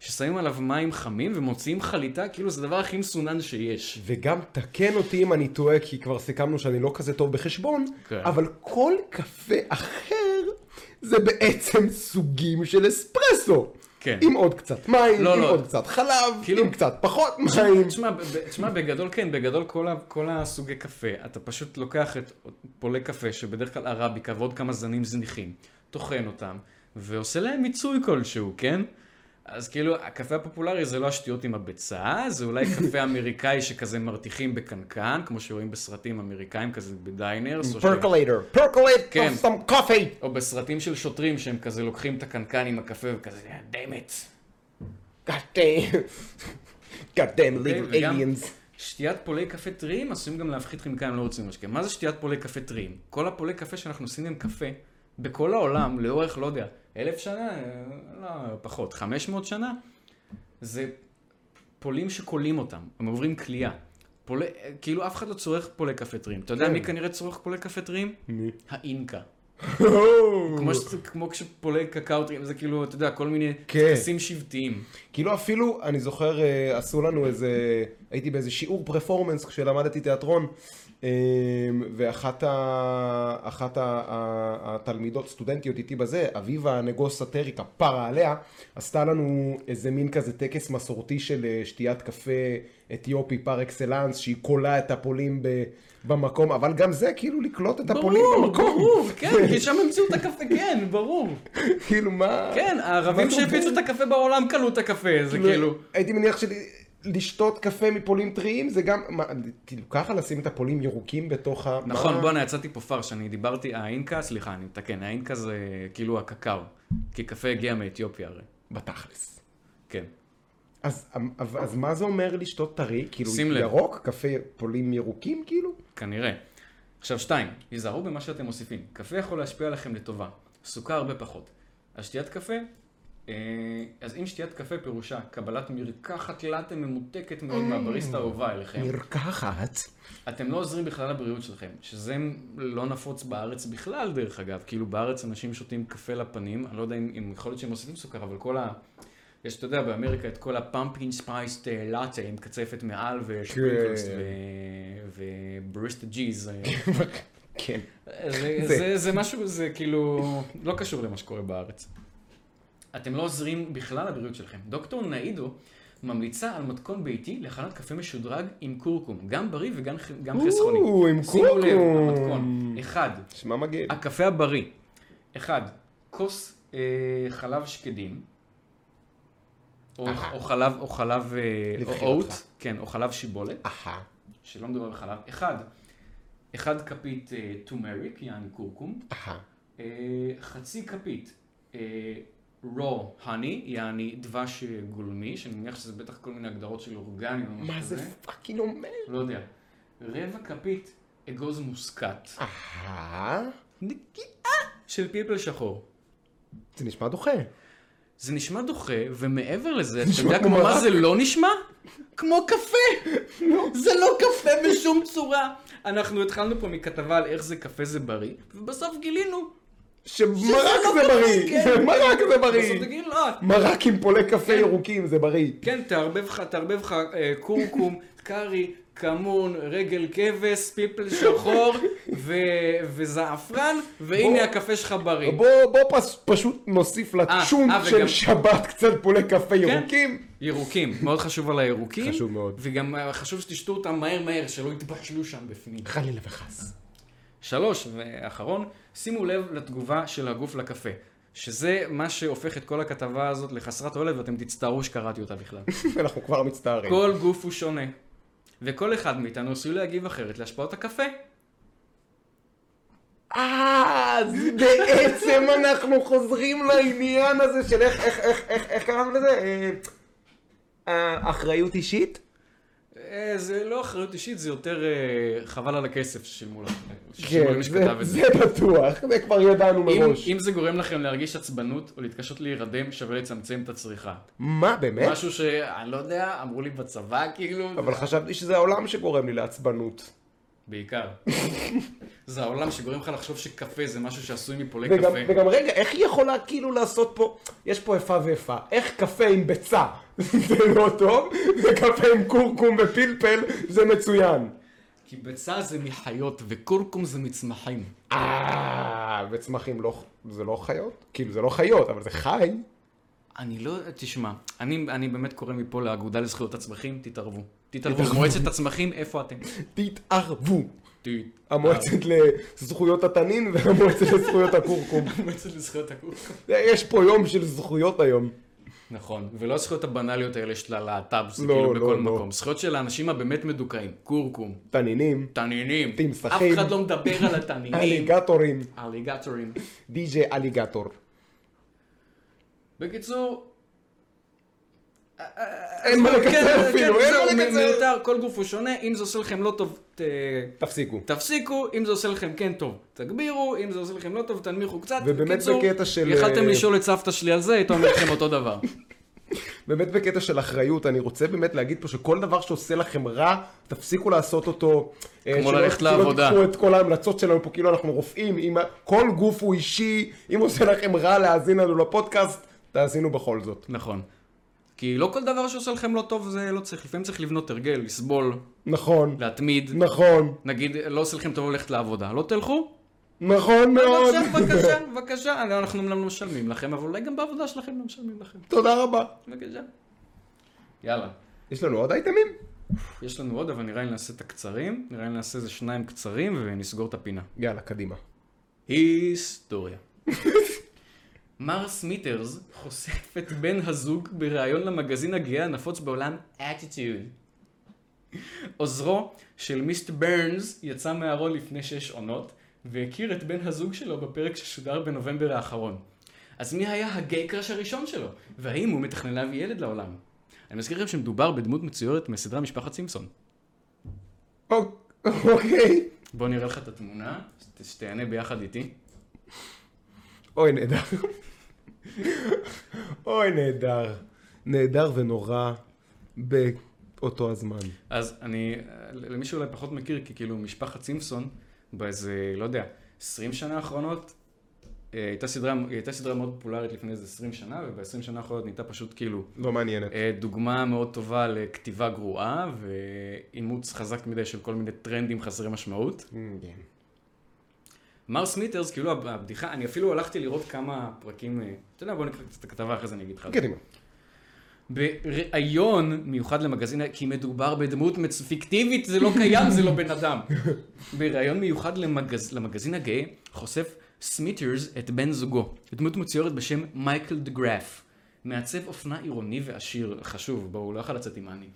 ששמים עליו מים חמים ומוציאים חליטה, כאילו זה הדבר הכי מסונן שיש.
וגם תקן אותי אם אני טועה, כי כבר סיכמנו שאני לא כזה טוב בחשבון,
כן.
אבל כל קפה אחר זה בעצם סוגים של אספרסו.
כן.
עם עוד קצת מים,
לא,
עם
לא.
עוד קצת חלב,
כאילו-
עם קצת פחות מים.
תשמע, ב- ב- תשמע, בגדול כן, בגדול כל, ה- כל הסוגי קפה, אתה פשוט לוקח את פולי קפה, שבדרך כלל ערביקה ועוד כמה זנים זניחים, טוחן אותם, ועושה להם מיצוי כלשהו, כן? אז כאילו, הקפה הפופולרי זה לא השטויות עם הביצה, זה אולי קפה אמריקאי שכזה מרתיחים בקנקן, כמו שרואים בסרטים אמריקאים כזה בדיינרס, או, ש...
פרקולייטר, פרקולייט
כן.
of some coffee.
או בסרטים של שוטרים שהם כזה לוקחים את הקנקן עם הקפה וכזה, דמת.
God damn. God damn little
וגם-
aliens.
שתיית פולי קפה טריים עשויים גם להפחית כימיקלים לא רוצים במשקה. מה זה שתיית פולי קפה טריים? כל הפולי קפה שאנחנו עושים עם קפה, בכל העולם, לאורך, לא יודע, אלף שנה, אה, לא, פחות, חמש מאות שנה, זה פולים שכולים אותם, הם עוברים כליאה. פולי, אה, כאילו אף אחד לא צורך פולי קפה טריים. אתה יודע
כן.
מי כנראה צורך פולי קפה טריים?
מי?
האינקה.
Oh.
כמו, ש... כמו כשפולי קקאו טריים, זה כאילו, אתה יודע, כל מיני
כן.
טקסים שבטיים.
כאילו אפילו, אני זוכר, אה, עשו לנו איזה, הייתי באיזה שיעור פרפורמנס כשלמדתי תיאטרון, אה, ואחת ה, אחת ה, ה, התלמידות, סטודנטיות איתי בזה, אביבה נגוס סטריקה, פרה עליה, עשתה לנו איזה מין כזה טקס מסורתי של אה, שתיית קפה אתיופי פר אקסלנס, שהיא קולה את הפולים ב, במקום, אבל גם זה כאילו לקלוט את הפולים
ברור,
במקום.
ברור, כן, כי שם המציאו את הקפה, כן, ברור.
כאילו מה...
כן, הערבים
מה זה
שהפיצו את הקפה בעולם קנו את הקפה, זה כאילו...
הייתי מניח שלשתות קפה מפולים טריים זה גם, מה, כאילו ככה לשים את הפולים ירוקים בתוך ה...
נכון,
מה?
בואנה, יצאתי פה פרש, אני דיברתי, האינקה, סליחה, אני מתקן, האינקה זה כאילו הקקאו, כי קפה הגיע מאתיופיה הרי,
בתכלס.
כן.
אז, אז, אז מה זה אומר לשתות טרי? כאילו
שים לב. כן.
ירוק? קפה פולים ירוקים כאילו?
כנראה. עכשיו שתיים, היזהרו במה שאתם מוסיפים. קפה יכול להשפיע עליכם לטובה, סוכר הרבה פחות. אז שתיית קפה, אה, אז אם שתיית קפה פירושה קבלת מרקחת לאטה ממותקת מאוד מהבריסטה האהובה אליכם,
אה, מרקחת.
אתם לא עוזרים בכלל לבריאות שלכם, שזה לא נפוץ בארץ בכלל דרך אגב, כאילו בארץ אנשים שותים קפה לפנים, אני לא יודע אם, אם יכול להיות שהם מוסיפים סוכר, אבל כל ה... יש, אתה יודע, באמריקה את כל הפמפקין ספייסט לאטה עם קצפת מעל ושפרינקלס
כן.
ו... ובריסטה ג'יז. אה,
כן.
זה,
זה.
זה, זה משהו, זה כאילו, לא קשור למה שקורה בארץ. אתם לא עוזרים בכלל לבריאות שלכם. דוקטור נאידו ממליצה על מתכון ביתי לחנות קפה משודרג עם כורכום, גם בריא וגם ח- גם חסכוני.
או, עם
שימו לב,
כורכום.
המתכון. אה, אחד,
שמע מגעיל.
הקפה הבריא. אחד, כוס אה, חלב שקדים. או, או חלב, או חלב, אה, או
לבחירתך.
אוט, כן, או חלב שיבולת.
אהה.
שלא מדובר בחלב, אחד, אחד כפית טומריק, יעני כורכום,
אהה.
אה, חצי כפית רו הני, יעני דבש אה, גולמי, שאני מניח שזה בטח כל מיני הגדרות של אורגנים
מה
או משהו
זה
כזה,
פאקינג אומר?
לא יודע, רבע כפית אגוז מוסקת,
אהה.
נגיעה של פלפל שחור.
זה נשמע דוחה.
זה נשמע דוחה, ומעבר לזה, אתה
נשמע
יודע
כמו
כמו מה
מרק.
זה לא נשמע? כמו קפה! זה לא קפה בשום צורה. אנחנו התחלנו פה מכתבה על איך זה קפה זה בריא, ובסוף גילינו
שמרק
לא
זה
קפה,
בריא!
כן.
זה מרק זה
בסוף
בריא!
תגיד לא.
מרק עם פולי קפה
כן.
ירוקים זה בריא.
כן, תערבב לך, תערבב לך אה, כורכום, קארי, כמון, רגל כבש, פיפל שחור ו- וזעפרן,
בוא.
והנה הקפה שלך בריא.
בוא, בוא פס, פשוט נוסיף לצ'ונט
אוקיי. אה,
של
וגם- כן.
שבת קצת פולי קפה ירוקים.
ירוקים, מאוד חשוב על הירוקים.
חשוב מאוד.
וגם אה, חשוב שתשתו אותם מהר מהר, שלא יתבשלו שם בפנים.
חלילה וחס.
שלוש ואחרון, שימו לב לתגובה של הגוף לקפה. שזה מה שהופך את כל הכתבה הזאת לחסרת תועלת ואתם תצטערו שקראתי אותה בכלל.
אנחנו כבר לא מצטערים.
כל גוף הוא שונה, וכל אחד מאיתנו עשוי להגיב אחרת להשפעות הקפה.
אה, אז בעצם אנחנו חוזרים לעניין הזה של איך, איך, איך, איך, איך קראנו לזה? אה, אה, אחריות אישית?
אה, זה לא אחריות אישית, זה יותר אה, חבל על הכסף ששילמו לכם. ששילמו
כן,
למי
זה,
שכתב את
זה בטוח, זה כבר ידענו
אם,
מראש.
אם זה גורם לכם להרגיש עצבנות או להתקשות להירדם, שווה לצמצם את הצריכה.
מה, באמת?
משהו שאני לא יודע, אמרו לי בצבא כאילו,
כן. אבל חשבתי שזה העולם שגורם לי לעצבנות.
בעיקר. זה העולם שגורם לך לחשוב שקפה זה משהו שעשוי מפולי
וגם,
קפה.
וגם רגע, איך היא יכולה כאילו לעשות פה, יש פה איפה ואיפה, איך קפה עם ביצה זה לא טוב, וקפה עם כורכום ופלפל זה מצוין.
כי ביצה זה מחיות וכורכום זה מצמחים.
אה, וצמחים לא, זה לא חיות? כאילו זה לא חיות, אבל זה חי.
אני לא, תשמע, אני, אני באמת קורא מפה לאגודה לזכויות הצמחים, תתערבו. תתערבו, מועצת הצמחים, איפה אתם?
תתערבו.
תתערבו.
המועצת לזכויות התנין והמועצת לזכויות הכורכום.
מועצת לזכויות הכורכום.
יש פה יום של זכויות היום.
נכון, ולא הזכויות הבנאליות האלה של הלהט"ב, זה
לא,
כאילו
לא,
בכל
לא.
מקום. זכויות של האנשים הבאמת מדוכאים, כורכום,
תנינים,
תנינים.
תמסכים.
אף אחד לא מדבר על התנינים.
אליגטורים,
אליגטורים.
די.ג'יי אליגטור.
בקיצור...
אין
כן,
מה לקצר אפילו, אין מה לקצר.
מיותר, כל גוף הוא שונה, אם זה עושה לכם לא טוב, ת-
תפסיקו.
תפסיקו, אם זה עושה לכם כן טוב, תגבירו, אם זה עושה לכם לא טוב, תנמיכו קצת.
ובאמת
בקיצור,
בקטע של,
יכלתם
אה,
לשאול את סבתא שלי על זה, הייתה אומרת לכם אותו דבר.
באמת בקטע של אחריות, אני רוצה באמת להגיד פה שכל דבר שעושה לכם רע, תפסיקו לעשות אותו. אה,
כמו
שלא-
ללכת לעבודה.
שלא תיקחו את כל ההמלצות שלנו פה, כאילו אנחנו רופאים, אם ה- כל גוף הוא אישי, אם עושה לכם רע להאזין לנו לפודקאסט, תאזינו בכל זאת.
נכון. כי לא כל דבר שעושה לכם לא טוב זה לא צריך, לפעמים צריך לבנות הרגל, לסבול,
נכון,
להתמיד.
נכון,
נגיד, לא עושה לכם טוב ללכת לעבודה, לא תלכו?
נכון מאוד.
בבקשה, בבקשה, בבקשה. אני- אנחנו אומנם לא משלמים לכם, אבל אולי גם בעבודה שלכם לא משלמים לכם.
תודה רבה.
בבקשה. יאללה.
יש לנו עוד אייטמים?
יש לנו עוד, אבל נראה לי נעשה את הקצרים, נראה לי נעשה איזה שניים קצרים ונסגור את הפינה.
יאללה, קדימה.
היסטוריה. מר סמיטרס חושף את בן הזוג בריאיון למגזין הגאה הנפוץ בעולם Attitude. עוזרו של מיסט ברנס יצא מהארון לפני שש עונות והכיר את בן הזוג שלו בפרק ששודר בנובמבר האחרון. אז מי היה הגיי קראש הראשון שלו? והאם הוא מתכנן להביא ילד לעולם? אני מזכיר לכם שמדובר בדמות מצוירת מסדרה משפחת סימפסון.
אוק- אוקיי.
בוא נראה לך את התמונה, שת- שתהנה ביחד איתי.
אוי, נהדר. אוי, נהדר. נהדר ונורא באותו הזמן.
אז אני, אה, למי שאולי פחות מכיר, כי כאילו משפחת סימפסון, באיזה, לא יודע, 20 שנה האחרונות, אה, הייתה סדרה, היא הייתה סדרה מאוד פופולרית לפני איזה 20 שנה, וב-20 שנה האחרונות נהייתה פשוט כאילו
לא מעניינת.
אה, דוגמה מאוד טובה לכתיבה גרועה ואימוץ חזק מדי של כל מיני טרנדים חסרי משמעות.
Mm.
כן. מר סמיטרס, כאילו הב- הבדיחה, אני אפילו הלכתי לראות כמה פרקים, אה, אתה יודע, בוא נקרא קצת את הכתבה, אחרי זה אני אגיד לך.
קדימה.
בראיון מיוחד למגזין, כי מדובר בדמות מצ- פיקטיבית, זה לא קיים, זה לא בן אדם. בראיון מיוחד למגז, למגזין הגאה, חושף סמיטרס את בן זוגו, דמות מצוירת בשם מייקל דגרף, מעצב אופנה עירוני ועשיר, חשוב, בואו, הוא לא יכול לצאת עם אני.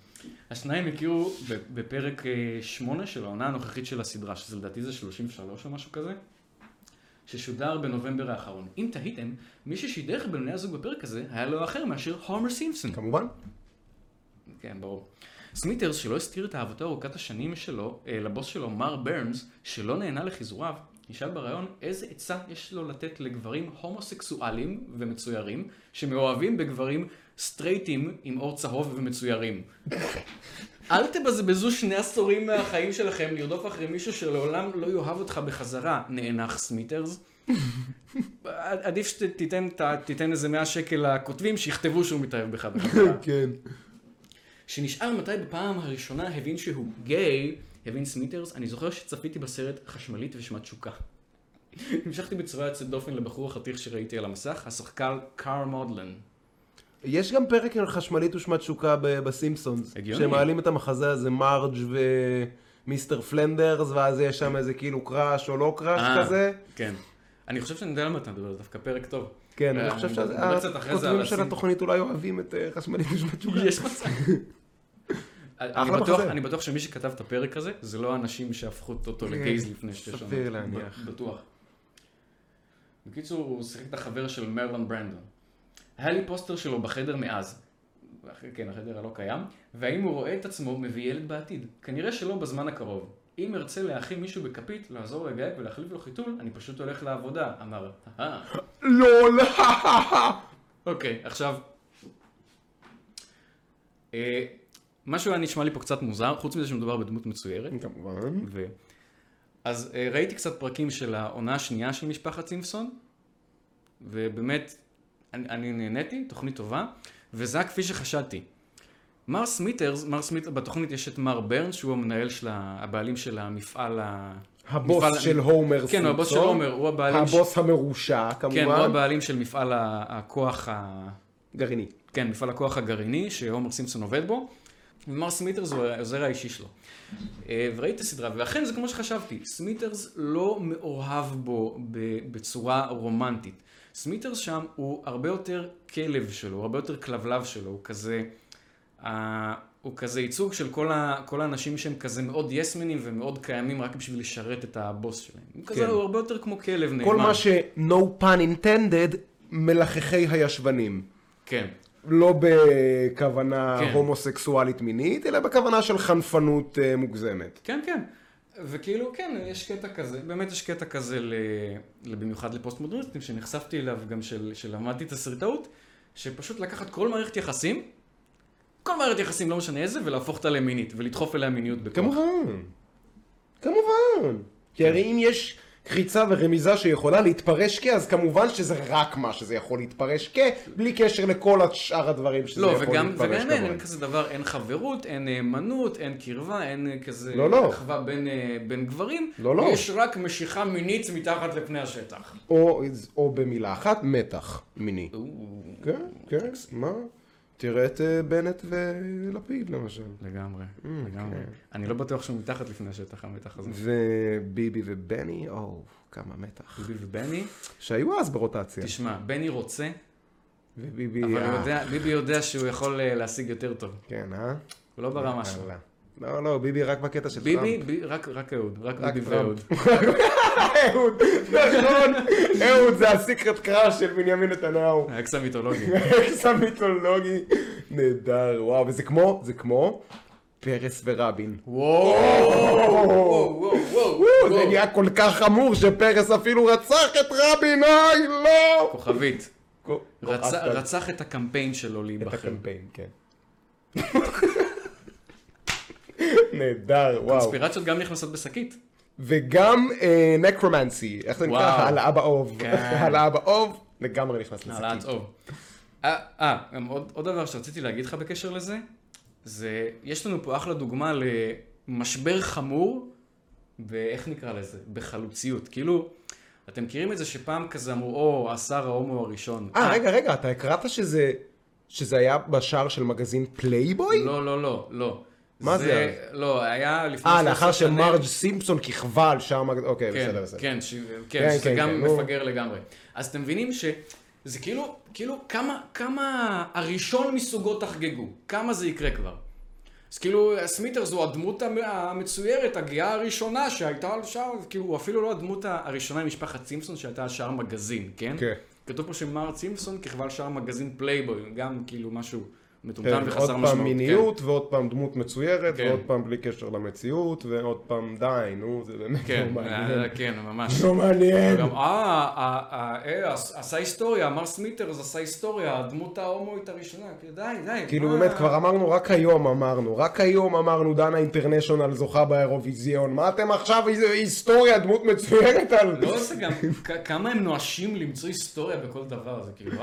השניים הכירו ב- בפרק 8 של העונה הנוכחית של הסדרה, שזה לדעתי זה 33 או משהו כזה. ששודר בנובמבר האחרון. אם תהיתם, מי ששידך בין בני הזוג בפרק הזה היה לא אחר מאשר הומר סימפסון.
כמובן.
כן, ברור. סמיטרס, שלא הסתיר את אהבתו ארוכת השנים שלו, אה, לבוס שלו, מר ברנס, שלא נהנה לחיזוריו, נשאל בריאיון איזה עצה יש לו לתת לגברים הומוסקסואלים ומצוירים, שמאוהבים בגברים סטרייטים עם עור צהוב ומצוירים. אל תבזבזו שני עשורים מהחיים שלכם לרדוף אחרי מישהו שלעולם לא יאהב אותך בחזרה, נאנח סמיטרס. עדיף שתיתן את ה- תיתן איזה 100 שקל לכותבים שיכתבו שהוא מתאהב בך בחזרה.
כן.
שנשאל מתי בפעם הראשונה הבין שהוא גיי, הבין סמיטרס, אני זוכר שצפיתי בסרט חשמלית ושמת שוקה. המשכתי בצורה יוצאת דופן לבחור החתיך שראיתי על המסך, השחקן קאר מודלן.
יש גם פרק על חשמלית ושמת שוקה ב- בסימפסונס.
הגיוני.
שמעלים את המחזה הזה, מרג' ומיסטר פלנדרס, ואז יש שם איזה כאילו קראש או לא קראש
אה,
כזה.
כן. אני חושב שאני יודע למה אתה מדבר, זה דווקא פרק טוב.
כן,
אה,
אני חושב
נדבר קצת אחרי זה
שהכותבים
על
של
הסינק.
התוכנית אולי אוהבים את אה, חשמלית ושמת שוקה.
יש מצב. אני
אחלה
בטוח-
מחזה. אה,
אני בטוח שמי שכתב את הפרק הזה, זה לא האנשים שהפכו אותו לגייז לפני שש שנים.
סביר להניח.
בטוח. בקיצור, הוא שיחק את החבר של מרלון ברנדון. היה לי פוסטר שלו בחדר מאז. אח- כן, החדר הלא קיים, והאם הוא רואה את עצמו מביא ילד בעתיד? כנראה שלא בזמן הקרוב. אם ארצה להאכיל מישהו בכפית, לעזור לגיא ולהחליף לו חיתול, אני פשוט הולך לעבודה, אמר. "אהה." לא,
לול!
אוקיי, עכשיו... אה, משהו היה נשמע לי פה קצת מוזר, חוץ מזה שמדובר בדמות מצוירת.
כמובן.
ו... אז אה, ראיתי קצת פרקים של העונה השנייה של משפחת סימפסון, ובאמת, אני, אני נהניתי, תוכנית טובה, וזה היה כפי שחשדתי. מר סמיטרס, מר סמיט, בתוכנית יש את מר ברנס, שהוא המנהל של ה... הבעלים של המפעל ה... מפעל-
הבוס של הומר
כן, הוא הבוס של
סימפסון.
הומר, הוא הבעלים... ש-
הבוס המרושע,
כן, הוא
כמובן.
הבעלים של מפעל ה- הכוח ה...
גרעיני.
כן, מפעל הכוח הגרעיני שהומר סימפסון עובד בו, ומר סמיטרס הוא העוזר האישי שלו. אה, וראיתי את הסדרה, ואכן זה כמו שחשבתי, סמיטרס לא מאוהב בו ב- בצורה רומנטית. סמיטרס שם הוא הרבה יותר כלב שלו, הוא הרבה יותר כלבלב שלו, הוא כזה... ה- הוא כזה ייצוג של כל, ה, כל האנשים שהם כזה מאוד יסמנים ומאוד קיימים רק בשביל לשרת את הבוס שלהם. הוא כזה, הוא הרבה יותר כמו כלב נאמן.
כן. כל מה ש... no pun intended, מלחכי הישבנים.
כן.
לא בכוונה
כן.
הומוסקסואלית מינית, אלא בכוונה של חנפנות אה, מוגזמת.
כן, כן. וכאילו, כן, יש קטע כזה, באמת יש קטע כזה, ל... במיוחד לפוסט-מודרניסטים, שנחשפתי אליו גם של... שלמדתי תסריטאות, שפשוט לקחת כל מערכת יחסים, כל מערכת יחסים, לא משנה איזה, ולהפוך אותה למינית, ולדחוף אליה מיניות בכוח.
כמובן. כמובן. כי הרי אם יש קריצה ורמיזה שיכולה להתפרש כ, אז כמובן שזה רק מה שזה יכול להתפרש כ, בלי קשר לכל שאר הדברים שזה
לא,
יכול
וגם,
להתפרש
וגם אין, אין
כמוהם.
כזה דבר, אין חברות, אין אה, נאמנות, אין קרבה, אין אה, כזה
לא, לא.
אחווה בין, אה, בין גברים.
לא, לא.
יש רק משיכה מינית מתחת לפני השטח.
או, או במילה אחת, מתח מיני. כן, כן, מה? תראה את אה, בנט ולפיד למשל.
לגמרי,
אוקיי.
לגמרי. אני לא בטוח שהוא מתחת לפני השטח, המתח הזה.
וביבי ובני, או, כמה מתח.
ביבי ובני,
שהיו אז ברוטציה.
תשמע, בני רוצה,
וביבי,
אבל
אה,
הוא יודע- ביבי יודע שהוא יכול אה, להשיג יותר טוב.
כן, אה?
הוא לא ברמה שלו.
יאללה. לא, לא, ביבי רק בקטע של
ביבי, ב- רק- רק אהוד, רק
רק
ביבי
טראמפ.
ואהוד.
אהוד, נכון, אהוד זה הסיקרט קראש של בנימין נתניהו.
האקס המיתולוגי.
אקס המיתולוגי. נהדר, וואו, וזה כמו, זה כמו פרס ורבין.
וואו, וואו, וואו, וואו,
וואו, זה
וואו.
נהיה כל כך חמור שפרס אפילו רצח את רבין, אוי, לא!
כוכבית, רצח-
אהבת
רצח את הקמפיין שלו
את
להיבחר.
הקמפיין, כן. נהדר, וואו.
קונספירציות גם נכנסות בשקית.
וגם נקרומנסי, איך זה נקרא?
וואו.
העלאה באוב.
כן.
העלאה באוב, לגמרי נכנס
העלאת
לשקית.
אור. אה, אה, גם עוד עוד דבר שרציתי להגיד לך בקשר לזה, זה, יש לנו פה אחלה דוגמה למשבר חמור, ואיך נקרא לזה? בחלוציות. כאילו, אתם מכירים את זה שפעם כזה אמרו, או, השר ההומו הראשון.
אה, רגע, רגע, אתה הקראת שזה שזה היה בשער של מגזין פלייבוי?
לא, לא, לא, לא.
מה זה
לא, היה לפני...
אה,
13
לאחר
שנים.
שמרג' סימפסון כיכבה על שער מגזין, אוקיי,
כן,
בסדר, בסדר.
כן, ש... כן,
כן,
שזה
כן,
גם
כן, נו.
מפגר לגמרי. אז אתם מבינים שזה כאילו, כאילו כמה, כמה הראשון מסוגו תחגגו, כמה זה יקרה כבר. אז כאילו, סמיטר זו הדמות המ- המצוירת, הגאה הראשונה שהייתה על שער, כאילו, הוא אפילו לא הדמות הראשונה ממשפחת סימפסון שהייתה על שער מגזין, כן?
כן.
כתוב פה שמר סימפסון ככבל שער מגזין פלייבוי, גם כאילו משהו
כן,
מטומטם
עוד
וחסר משמעות.
פעם מיניות, ועוד פעם דמות מצוירת,
כן.
ועוד פעם בלי קשר למציאות, ועוד פעם די, נו, זה באמת
כן,
לא מעניין.
אה, כן, ממש.
לא מעניין.
גם, אה, אה, אה, אה, עש- עשה היסטוריה, מר סמיטרס עשה היסטוריה, הדמות ההומואית הראשונה, כאילו, די, די.
כאילו
מה?
באמת כבר אמרנו, רק היום אמרנו, רק היום אמרנו דנה אינטרנשיונל זוכה באירוויזיון, מה אתם עכשיו איזה היסטוריה, דמות מצוירת על...
לא זה גם, כ- כמה הם נואשים למצוא היסטוריה בכל דבר, זה כאילו,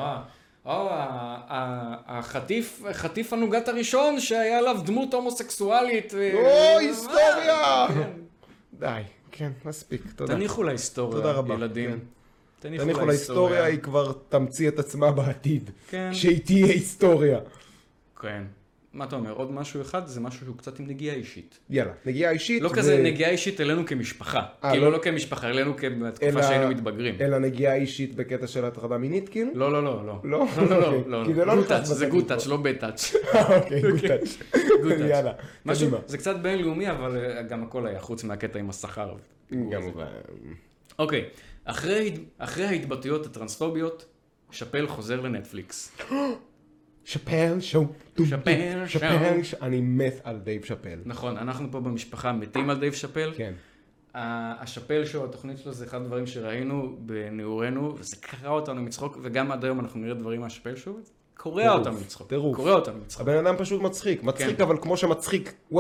אה, אה, אה, החטיף, חטיף הנוגת הראשון שהיה עליו דמות הומוסקסואלית. אה,
או,
אה,
היסטוריה!
כן.
די, כן, מספיק, תודה.
תניחו להיסטוריה,
תודה רבה, כן.
ילדים.
תניחו להיסטוריה, היא כבר תמציא את עצמה בעתיד.
כן.
כשהיא תהיה היסטוריה.
כן. מה אתה אומר, עוד משהו אחד, זה משהו שהוא קצת עם נגיעה אישית.
יאללה, נגיעה אישית.
לא
ו-
כזה נגיעה אישית אלינו כמשפחה.
אה,
כאילו
לא-
לא כמשפחה, אלינו כבתקופה
אלא-
שהיינו מתבגרים.
אלא נגיעה אישית בקטע של הטרדה מינית, כאילו?
לא, לא, לא, לא.
לא?
לא, לא,
אוקיי.
לא,
כי זה
לא.
לא
גוד
נכנס
טאץ', זה
בתקליט
גוד טאץ',
פה.
לא בד טאץ'.
אוקיי, גוד טאץ'.
גוד טאץ'.
יאללה,
משהו,
קדימה.
זה קצת בינלאומי, אבל אה, גם הכל היה, חוץ מהקטע עם השכר.
כמובן.
אוקיי, אחרי, אחרי ההתבטאויות הטרנספוביות, שאפל חוזר לנטפליקס.
שאפל, שואו, טו,
שאפל,
טו,
שואו.
ש- אני מת על דייב שאפל.
נכון, אנחנו פה במשפחה מתים על דייב שאפל.
כן.
ה- השאפל שואו, התוכנית שלו, זה אחד הדברים שראינו בנעורינו, וזה קרע אותנו מצחוק, וגם עד היום אנחנו נראה דברים מהשאפל שואו, קורע
טירוף,
אותנו מצחוק.
טירוף.
קורע אותנו מצחוק.
הבן אדם פשוט מצחיק, מצחיק
כן.
אבל כמו שמצחיק was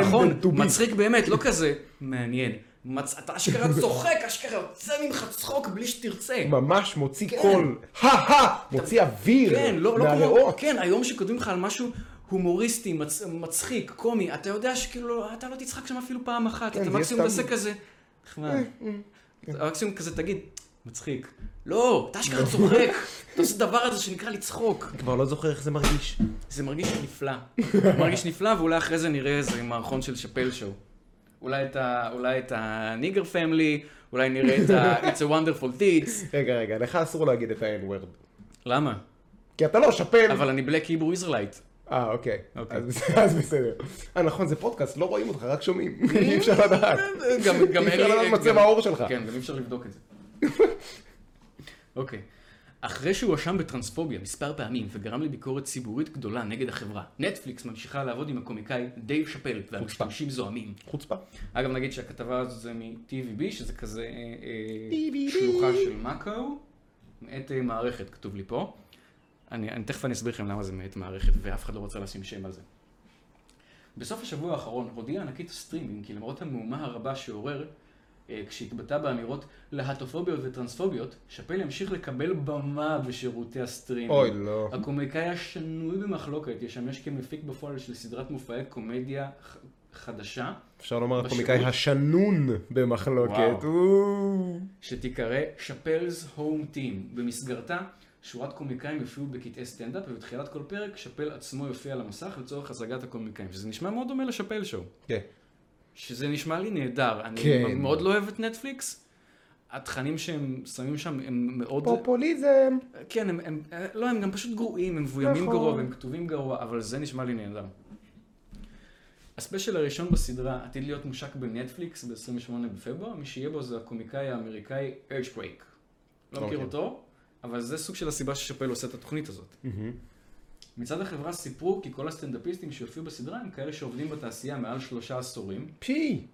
נכון,
intended to be.
מצחיק באמת, לא כזה מעניין. מצ... אתה אשכרה צוחק, אשכרה יוצא ממך צחוק בלי שתרצה.
ממש מוציא
כן.
קול, הא-הא, מוציא אוויר
כן, לא, לא כמו...
מהריאות.
כן, היום שכותבים לך על משהו הומוריסטי, מצ... מצחיק, קומי, אתה יודע שכאילו, אתה לא תצחק שם אפילו פעם אחת,
כן, זה
אתה
יהיה אה,
מקסימום
סתם-
תעשה כזה. נחמד.
כן.
מקסימום כזה תגיד, מצחיק. לא, אתה אשכרה צוחק, אתה עושה דבר הזה שנקרא לצחוק.
כבר לא זוכר איך זה מרגיש.
זה מרגיש נפלא. מרגיש נפלא, ואולי אחרי זה נראה איזה מערכון של שאפל שואו. אולי את ה- אולי את הניגר פמילי, אולי נראה את ה- It's a wonderful tits.
רגע, רגע, לך אסור להגיד את ה-N-word.
למה?
כי אתה לא שאפל.
אבל אני בלק היברו איזרלייט.
אה, אוקיי.
אוקיי.
אז בסדר, אז בסדר. אה, נכון, זה פודקאסט, לא רואים אותך, רק שומעים.
כן.
אי אפשר לדעת.
גם גם
אי אפשר
אלי-
לדעת מצב
גם-
העור שלך.
כן, גם אי אפשר לבדוק את זה. אוקיי. אחרי שהוא הואשם בטרנספוביה מספר פעמים וגרם לביקורת ציבורית גדולה נגד החברה, נטפליקס ממשיכה לעבוד עם הקומיקאי דייב שאפל והמשתמשים זועמים.
חוצפה.
אגב, נגיד שהכתבה הזאת זה מ-TVB, שזה כזה אה, אה,
TVB.
שלוחה של מאקו, מאת אה, מערכת, כתוב לי פה. אני, אני תכף אני אסביר לכם למה זה מאת מערכת, ואף אחד לא רוצה לשים שם על זה. בסוף השבוע האחרון הודיעה ענקית הסטרימינג כי למרות המהומה הרבה שעורר, אה, כשהתבטא באמירות להטופוביות וטרנספוביות, שאפל ימשיך לקבל במה בשירותי הסטרימינג.
אוי, לא.
הקומיקאי השנוי במחלוקת ישמש כמפיק בפועל של סדרת מופעי קומדיה ח- חדשה,
אפשר לומר
בשירות.
הקומיקאי השנון במחלוקת.
וואו.
הוא-
שתיקרא שאפל's Home Team. במסגרתה, שורת קומיקאים יופיעו בקטעי סטנדאפ, ובתחילת כל פרק, שאפל עצמו יופיע על המסך לצורך הצגת הקומיקאים. שזה נשמע מאוד דומה לשאפל שואו.
כן.
שזה נשמע לי נהדר. אני
כן.
מאוד לא אוהב את נטפליקס. התכנים שהם שמים שם הם מאוד...
פופוליזם.
כן, הם, הם, אה, לא, הם גם פשוט גרועים, הם מבוימים
נכון.
גרוע והם כתובים גרוע, אבל זה נשמע לי נהדר. הספיישל הראשון בסדרה עתיד להיות מושק בנטפליקס ב-28 בפברואר, מי שיהיה בו זה הקומיקאי האמריקאי ארג'קווייק. לא מכיר
אוקיי.
אותו, אבל זה סוג של הסיבה ששאפל עושה את התוכנית הזאת.
מהמם.
מצד החברה סיפרו כי כל הסטנדאפיסטים שהופיעו בסדרה הם כאלה שעובדים בתעשייה מעל שלושה עשורים.
פי.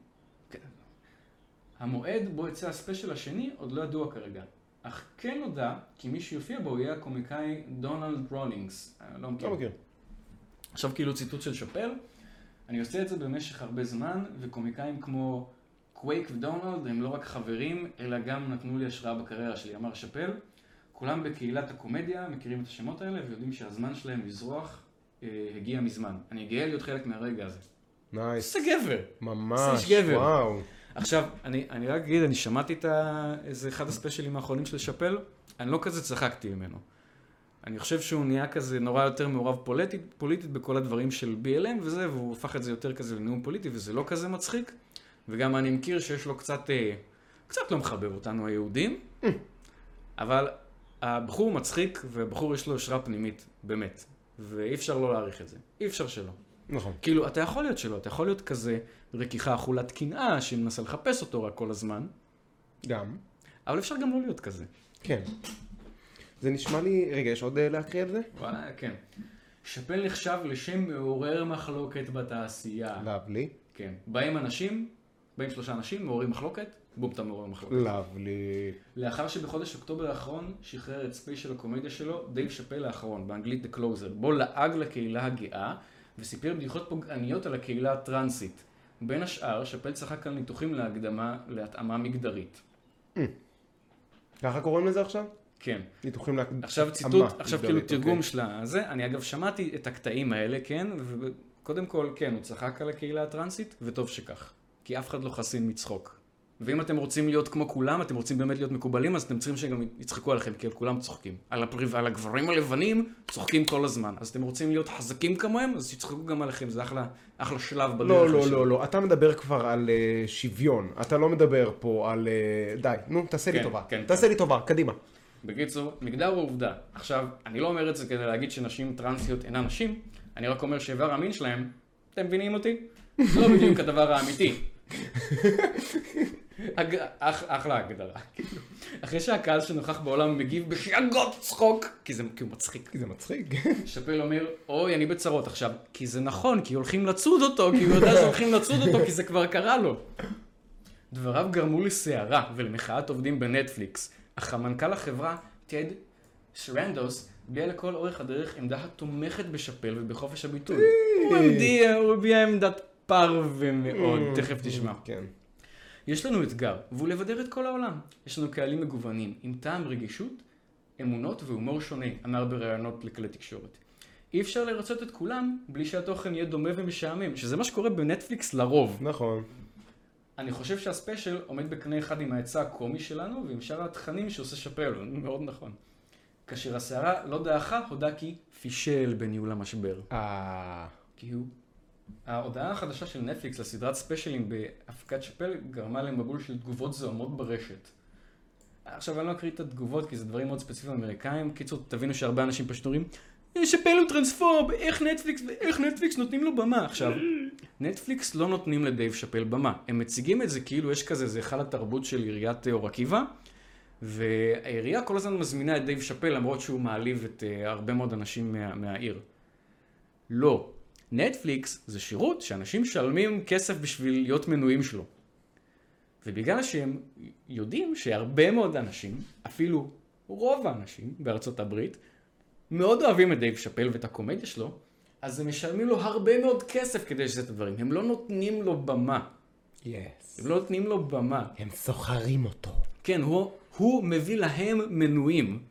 המועד בו יצא הספיישל השני עוד לא ידוע כרגע, אך כן נודע כי מי שיופיע בו יהיה הקומיקאי דונלד רולינגס. אה, לא מכיר.
לא מכיר.
עכשיו כאילו ציטוט של שאפל, אני עושה את זה במשך הרבה זמן, וקומיקאים כמו קווייק ודונלד הם לא רק חברים, אלא גם נתנו לי השראה בקריירה שלי, אמר שאפל. כולם בקהילת הקומדיה מכירים את השמות האלה ויודעים שהזמן שלהם לזרוח אה, הגיע מזמן. אני גאה להיות חלק מהרגע הזה.
נייס.
איזה גבר!
ממש.
איש גבר.
וואו.
עכשיו, אני, אני רק אגיד, אני שמעתי את ה... איזה אחד הספיישלים האחרונים של שאפל, אני לא כזה צחקתי ממנו. אני חושב שהוא נהיה כזה נורא יותר מעורב פוליטית, פוליטית בכל הדברים של BLM וזה, והוא הפך את זה יותר כזה לנאום פוליטי, וזה לא כזה מצחיק. וגם אני מכיר שיש לו קצת, אה, קצת לא מחבב אותנו היהודים, אבל הבחור מצחיק, והבחור יש לו יושרה פנימית, באמת. ואי אפשר לא להעריך את זה. אי אפשר שלא.
נכון.
כאילו, אתה יכול להיות שלא, אתה יכול להיות כזה רכיכה אכולת קנאה שמנסה לחפש אותו רק כל הזמן,
גם.
אבל אפשר גם לא להיות כזה.
כן. זה נשמע לי... רגע, יש עוד אה, להקריא על זה?
וואלה, כן. שאפל נחשב לשם מעורר מחלוקת בתעשייה.
לאבלי.
כן. באים אנשים, באים שלושה אנשים, מעוררים מחלוקת, בום, אתה מעורר מחלוקת.
לאבלי.
לאחר שבחודש אוקטובר האחרון שחרר את ספיישל הקומדיה שלו, דייב שאפל האחרון, באנגלית The Closer, בו לעג לקהילה הגאה, וסיפר בדיחות פוגעניות על הקהילה הטרנסית. בין השאר, שאפל צחק על ניתוחים להקדמה להתאמה מגדרית.
ככה קוראים לזה עכשיו?
כן.
ניתוחים להק...
עכשיו ציטוט,
אמה,
עכשיו כאילו
מגדרית,
תרגום
אוקיי.
של הזה, אני אגב שמעתי את הקטעים האלה, כן, וקודם כל, כן, הוא צחק על הקהילה הטרנסית, וטוב שכך, כי אף אחד לא חסין מצחוק. ואם אתם רוצים להיות כמו כולם, אתם רוצים באמת להיות מקובלים, אז אתם צריכים שגם יצחקו עליכם, כי על כולם צוחקים. על, הפריו... על הגברים הלבנים צוחקים כל הזמן. אז אתם רוצים להיות חזקים כמוהם, אז שיצחקו גם עליכם, זה אחלה, אחלה שלב בדרך.
לא, לא,
לשם.
לא, לא, אתה מדבר כבר על אה, שוויון, אתה לא מדבר פה על... אה, די, נו, תעשה לי
כן,
טובה,
כן,
תעשה לי טובה, קדימה.
בקיצור, מגדר הוא עובדה. עכשיו, אני לא אומר את זה כדי להגיד שנשים טרנסיות אינן נשים, אני רק אומר שאיבר המין שלהם, אתם מבינים אותי? זה לא בדיוק הדבר האמיתי. הג- אח- אחלה הגדרה. כאילו, אחרי שהקהל שנוכח בעולם מגיב בחייגות צחוק, כי זה כי הוא מצחיק.
כי זה מצחיק.
שאפל אומר, אוי, אני בצרות עכשיו. כי זה נכון, כי הולכים לצוד אותו, כי הוא יודע שהולכים לצוד אותו, כי זה כבר קרה לו. דבריו גרמו לסערה ולמחאת עובדים בנטפליקס, אך המנכ"ל החברה, טד סרנדוס, הביע לכל אורך הדרך עמדה התומכת בשאפל ובחופש הביטוי. הוא הביע- הוא הביע עמדת פרווה מאוד, תכף תשמע.
כן.
יש לנו אתגר, והוא לבדר את כל העולם. יש לנו קהלים מגוונים, עם טעם רגישות, אמונות והומור שונה, אמר בראיונות לכלי תקשורת. אי אפשר לרצות את כולם בלי שהתוכן יהיה דומה ומשעמם, שזה מה שקורה בנטפליקס לרוב.
נכון.
אני חושב שהספיישל עומד בקנה אחד עם ההיצע הקומי שלנו ועם שאר התכנים שעושה שאפל, מאוד נכון. כאשר הסערה לא דעכה, הודה כי פישל בניהול המשבר.
אה...
כי הוא... ההודעה החדשה של נטפליקס לסדרת ספיישלים בהפקת שאפל גרמה למבול של תגובות זוהמות ברשת. עכשיו אני לא אקריא את התגובות כי זה דברים מאוד ספציפיים אמריקאים. קיצור, תבינו שהרבה אנשים פשוט אומרים, "אה, שאפל הוא טרנספורב, איך נטפליקס, איך נטפליקס נותנים לו במה עכשיו. נטפליקס לא נותנים לדייב שאפל במה. הם מציגים את זה כאילו יש כזה, זה היכל התרבות של עיריית אה, אור עקיבא. והעירייה כל הזמן מזמינה את דייב שאפל למרות שהוא מעליב את אה, הרבה מאוד אנשים מה, מהעיר. לא. נטפליקס זה שירות שאנשים משלמים כסף בשביל להיות מנויים שלו. ובגלל שהם יודעים שהרבה מאוד אנשים, אפילו רוב האנשים בארצות הברית, מאוד אוהבים את דייב שאפל ואת הקומדיה שלו, אז הם משלמים לו הרבה מאוד כסף כדי שזה את הדברים. הם לא נותנים לו במה.
יס.
הם לא נותנים לו במה.
הם סוחרים אותו.
כן, הוא, הוא מביא להם מנויים.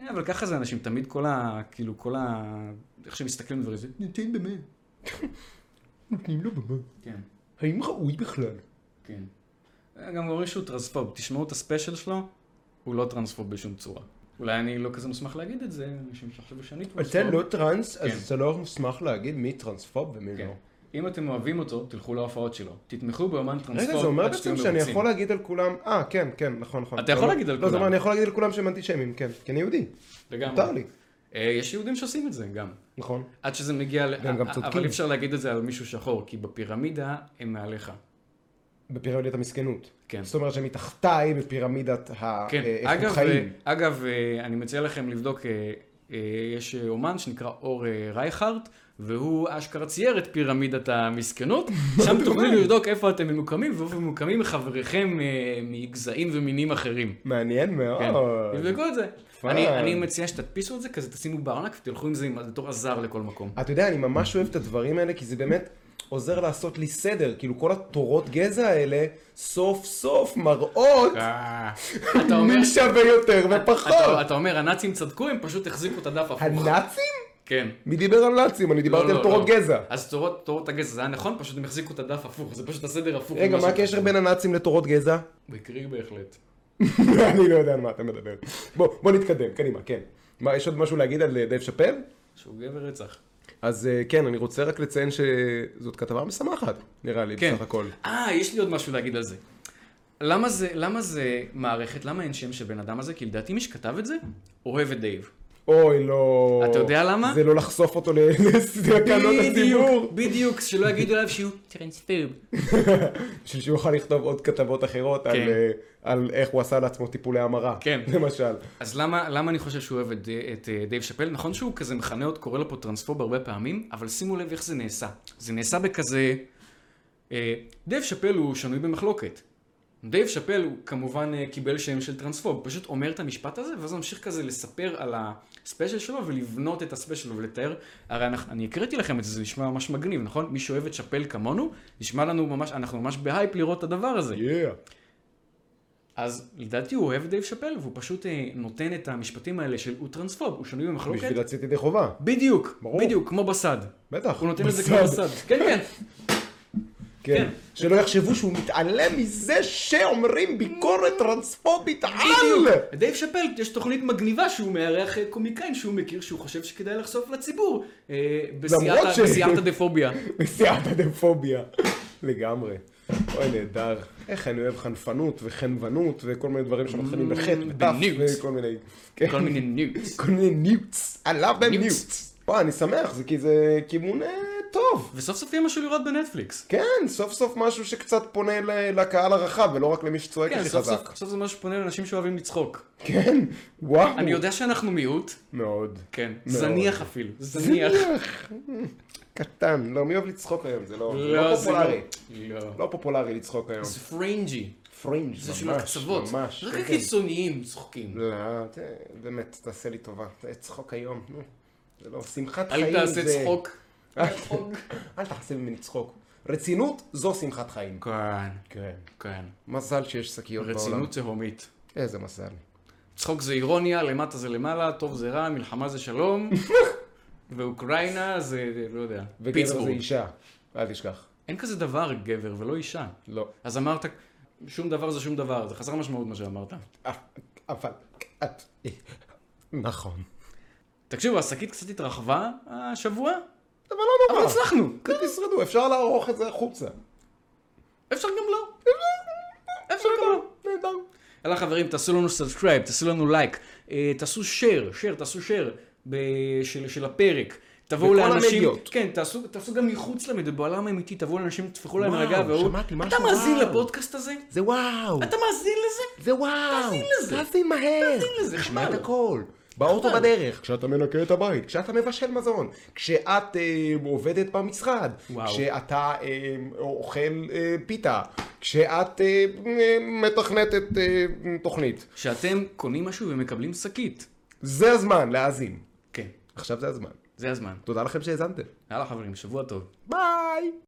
אה, אבל ככה זה אנשים, תמיד כל ה... כאילו, כל ה... איך שמסתכלים על דברים, זה
נותנים במה. נותנים לו במה.
כן.
האם ראוי בכלל?
כן. גם אומרים שהוא טרנספוב, תשמעו את הספיישל שלו, הוא לא טרנספוב בשום צורה. אולי אני לא כזה מוסמך להגיד את זה, אנשים שיחשבו שאני
אתה
טרנספוב.
לא טרנס,
כן.
אז אתה לא מוסמך להגיד מי טרנספוב ומי
כן.
לא.
אם אתם אוהבים אותו, תלכו להופעות שלו. תתמכו באומן טרנספוב.
רגע, זה אומר
עד שתהיו
בעצם שאני
מרוצים.
יכול להגיד על כולם, אה, כן, כן, נכון, נכון.
אתה יכול
לא,
להגיד על
לא, זה
כולם.
אומר, אני יכול להגיד על כולם שהם אנטישמים, כן, כי אני יהודי,
לגמרי.
מותר לי,
אה, יש יהודים שעושים את זה גם.
נכון.
עד שזה מגיע ל... אה,
והם גם צודקים.
אבל אי אפשר להגיד את זה על מישהו שחור, כי בפירמידה הם מעליך.
בפירמידת המסכנות.
כן.
זאת אומרת שמתחתיי בפירמידת ה-
כן,
אה, איכות
אגב,
חיים.
אה, אגב, אה, אני מציע לכם לבדוק, אה, אה, יש אה, אומן שנקרא אור אה, רייכרט, והוא אשכרה צייר את פירמידת המסכנות, שם תוכלו לבדוק איפה אתם ממוקמים, ואיפה ממוקמים חבריכם אה, מגזעים ומינים אחרים.
מעניין
כן,
מאוד.
תבדקו את זה.
פאן.
אני- אני מציע שתדפיסו את זה, כזה תשימו בארנק ותלכו עם זה עם- בתור עזר לכל מקום.
אתה יודע, אני ממש אוהב את הדברים האלה, כי זה באמת עוזר לעשות לי סדר. כאילו, כל התורות גזע האלה, סוף סוף מראות
אה, אתה אומר,
מי שווה יותר
אתה-
ופחות.
אתה אומר, הנאצים צדקו, הם פשוט החזיקו את הדף הפוך.
הנאצים?
כן.
מי דיבר על נאצים? אני דיברתי
לא,
על
לא,
תורות
לא.
גזע.
אז תורות, תורות הגזע זה היה נכון, פשוט הם החזיקו את הדף הפוך, זה פשוט הסדר הפוך.
רגע,
ממה
מה
ש-
הקשר בין הנאצים לתורות גזע?
מקרי בהחלט.
אני לא יודע על מה אתה מדבר. בוא, בוא נתקדם, קדימה, כן. מה, יש עוד משהו להגיד על אה, דייב שאפל?
שהוא גבר רצח.
אז אה, כן, אני רוצה רק לציין שזאת כתבה משמחת, נראה לי,
כן.
בסך הכל.
אה, יש לי עוד משהו להגיד על זה. למה זה, למה זה מערכת, למה אין שם של בן אדם הזה? כי לדעתי מי שכתב את זה, אוהב את דייב.
אוי, לא...
אתה יודע למה?
זה לא לחשוף אותו לא ל- לסכנות הציבור.
בדיוק, שלא יגידו עליו שהוא טרנספרב.
בשביל שהוא יוכל לכתוב עוד כתבות אחרות על,
כן.
אה, על איך הוא עשה לעצמו טיפולי המרה.
כן.
למשל.
אז למה, למה אני חושב שהוא אוהב את, די- את אה, דייב שאפל? נכון שהוא כזה מכנה עוד, קורא לו פה טרנספוב הרבה פעמים, אבל שימו לב איך זה נעשה. זה נעשה בכזה... אה, דייב שאפל הוא שנוי במחלוקת. דייב שאפל הוא כמובן אה, קיבל שם של טרנספוב, פשוט אומר את המשפט הזה, ואז ממשיך כזה לספר על הספיישל שלו ולבנות את הספיישל ולתאר. הרי אנחנו, אני הקראתי לכם את זה, זה נשמע ממש מגניב, נכון? מי שאוהב את שאפל כמונו, נשמע לנו ממש, אנחנו ממש בהייפ לראות את הדבר הזה.
יאה.
אז לדעתי הוא אוהב את דייב שאפל, והוא פשוט אה, נותן את המשפטים האלה של הוא טרנספוב, הוא שנוי במחלוקת.
בשביל לצאת ידי חובה.
בדיוק,
ברור.
בדיוק, כמו בסד.
בטח.
הוא נותן את זה
בסדר.
כמו בסד. כן, כן.
כן. שלא יחשבו שהוא מתעלם מזה שאומרים ביקורת טרנספובית על!
בדיוק. דייב שאפל, יש תוכנית מגניבה שהוא מארח אה, קומיקאים שהוא מכיר, שהוא חושב שכדאי לחשוף לציבור. אה, בסיעת
למרות
ה-
ש-
בסיעת הדפוביה.
נסיעת הדמפוביה. לגמרי. אוי, נהדר. איך אני אוהב חנפנות וחנוונות וכל מיני דברים שמתחילים בחטא ודף
בניוץ.
וכל מיני... כן.
Mm, כל מיני ניוץ.
כל מיני ניוץ. עליו
ניוץ.
בניוץ. וואי, אני שמח, זה כי זה כיוון אה, טוב.
וסוף סוף יהיה משהו לראות בנטפליקס.
כן, סוף סוף משהו שקצת פונה ל- לקהל הרחב ולא רק למי שצועק
כן,
הכי
סוף
חזק.
סוף, סוף זה משהו שפונה לאנשים שאוהבים לצחוק.
כן, וואו.
אני יודע שאנחנו מיעוט,
מאוד.
כן,
מאוד.
זניח אפילו, זניח.
קטן. לא, מי אוהב לצחוק היום? זה לא, זה
לא,
לא
זה
פופולרי.
לא.
לא פופולרי לצחוק היום.
זה פרינג'י,
פרינג'
זה
ממש,
של הקצוות.
ממש.
רק
כן, כן.
הקיצוניים צוחקים.
לא, ת- באמת, תעשה לי טובה. זה צחוק היום. נו. זה לא, שמחת חיים
אל
זה...
תעשה צחוק.
צחוק. אל תעשה ממני צחוק. רצינות זו שמחת חיים.
כן,
כן.
כן.
מזל שיש שקיות בעולם.
רצינות תהומית.
איזה מזל.
צחוק זה אירוניה, למטה זה למעלה, טוב זה רע, מלחמה זה שלום, ואוקראינה זה, לא יודע,
וגבר זה
פיטסבורג.
אישה. אל תשכח.
אין כזה דבר גבר ולא אישה.
לא.
אז אמרת, שום דבר זה שום דבר, זה חסר משמעות מה שאמרת.
אבל... את- נכון.
תקשיבו, השקית קצת התרחבה השבוע,
אבל לא
אבל
נורא.
הצלחנו.
כן, תשרדו, אפשר לערוך את זה החוצה.
אפשר גם לא. אפשר גם לא.
נהדר.
יאללה חברים, תעשו לנו סאבסקרייב, תעשו לנו לייק, אה, תעשו שייר, שייר, תעשו שייר ב- של, של הפרק. תבואו
בכל
לאנשים,
המדיות.
כן, תעשו, תעשו גם מחוץ למדיה, בעולם האמיתי, תבואו לאנשים, תפחו להם
וואו,
רגע, והוא,
שמעתי משהו,
אתה מאזין
וואו."
לפודקאסט הזה?
זה וואו!
אתה מאזין לזה?
זה וואו!
תאזין לזה.
תאזין מהר!
תאזין לזה,
תשמע את
חבל.
הכל! באוטו
חבל.
בדרך!
כשאתה מנקה את הבית, כשאתה מבשל מזון, כשאת אה, עובדת במשרד,
וואו.
כשאתה אה, אוכל אה, פיתה, כשאת אה, אה, מתכנתת אה, תוכנית.
שאתם קונים משהו ומקבלים שקית.
זה הזמן להאזין.
כן,
עכשיו זה הזמן.
זה הזמן.
תודה לכם שהאזנתם.
יאללה חברים, שבוע טוב.
ביי!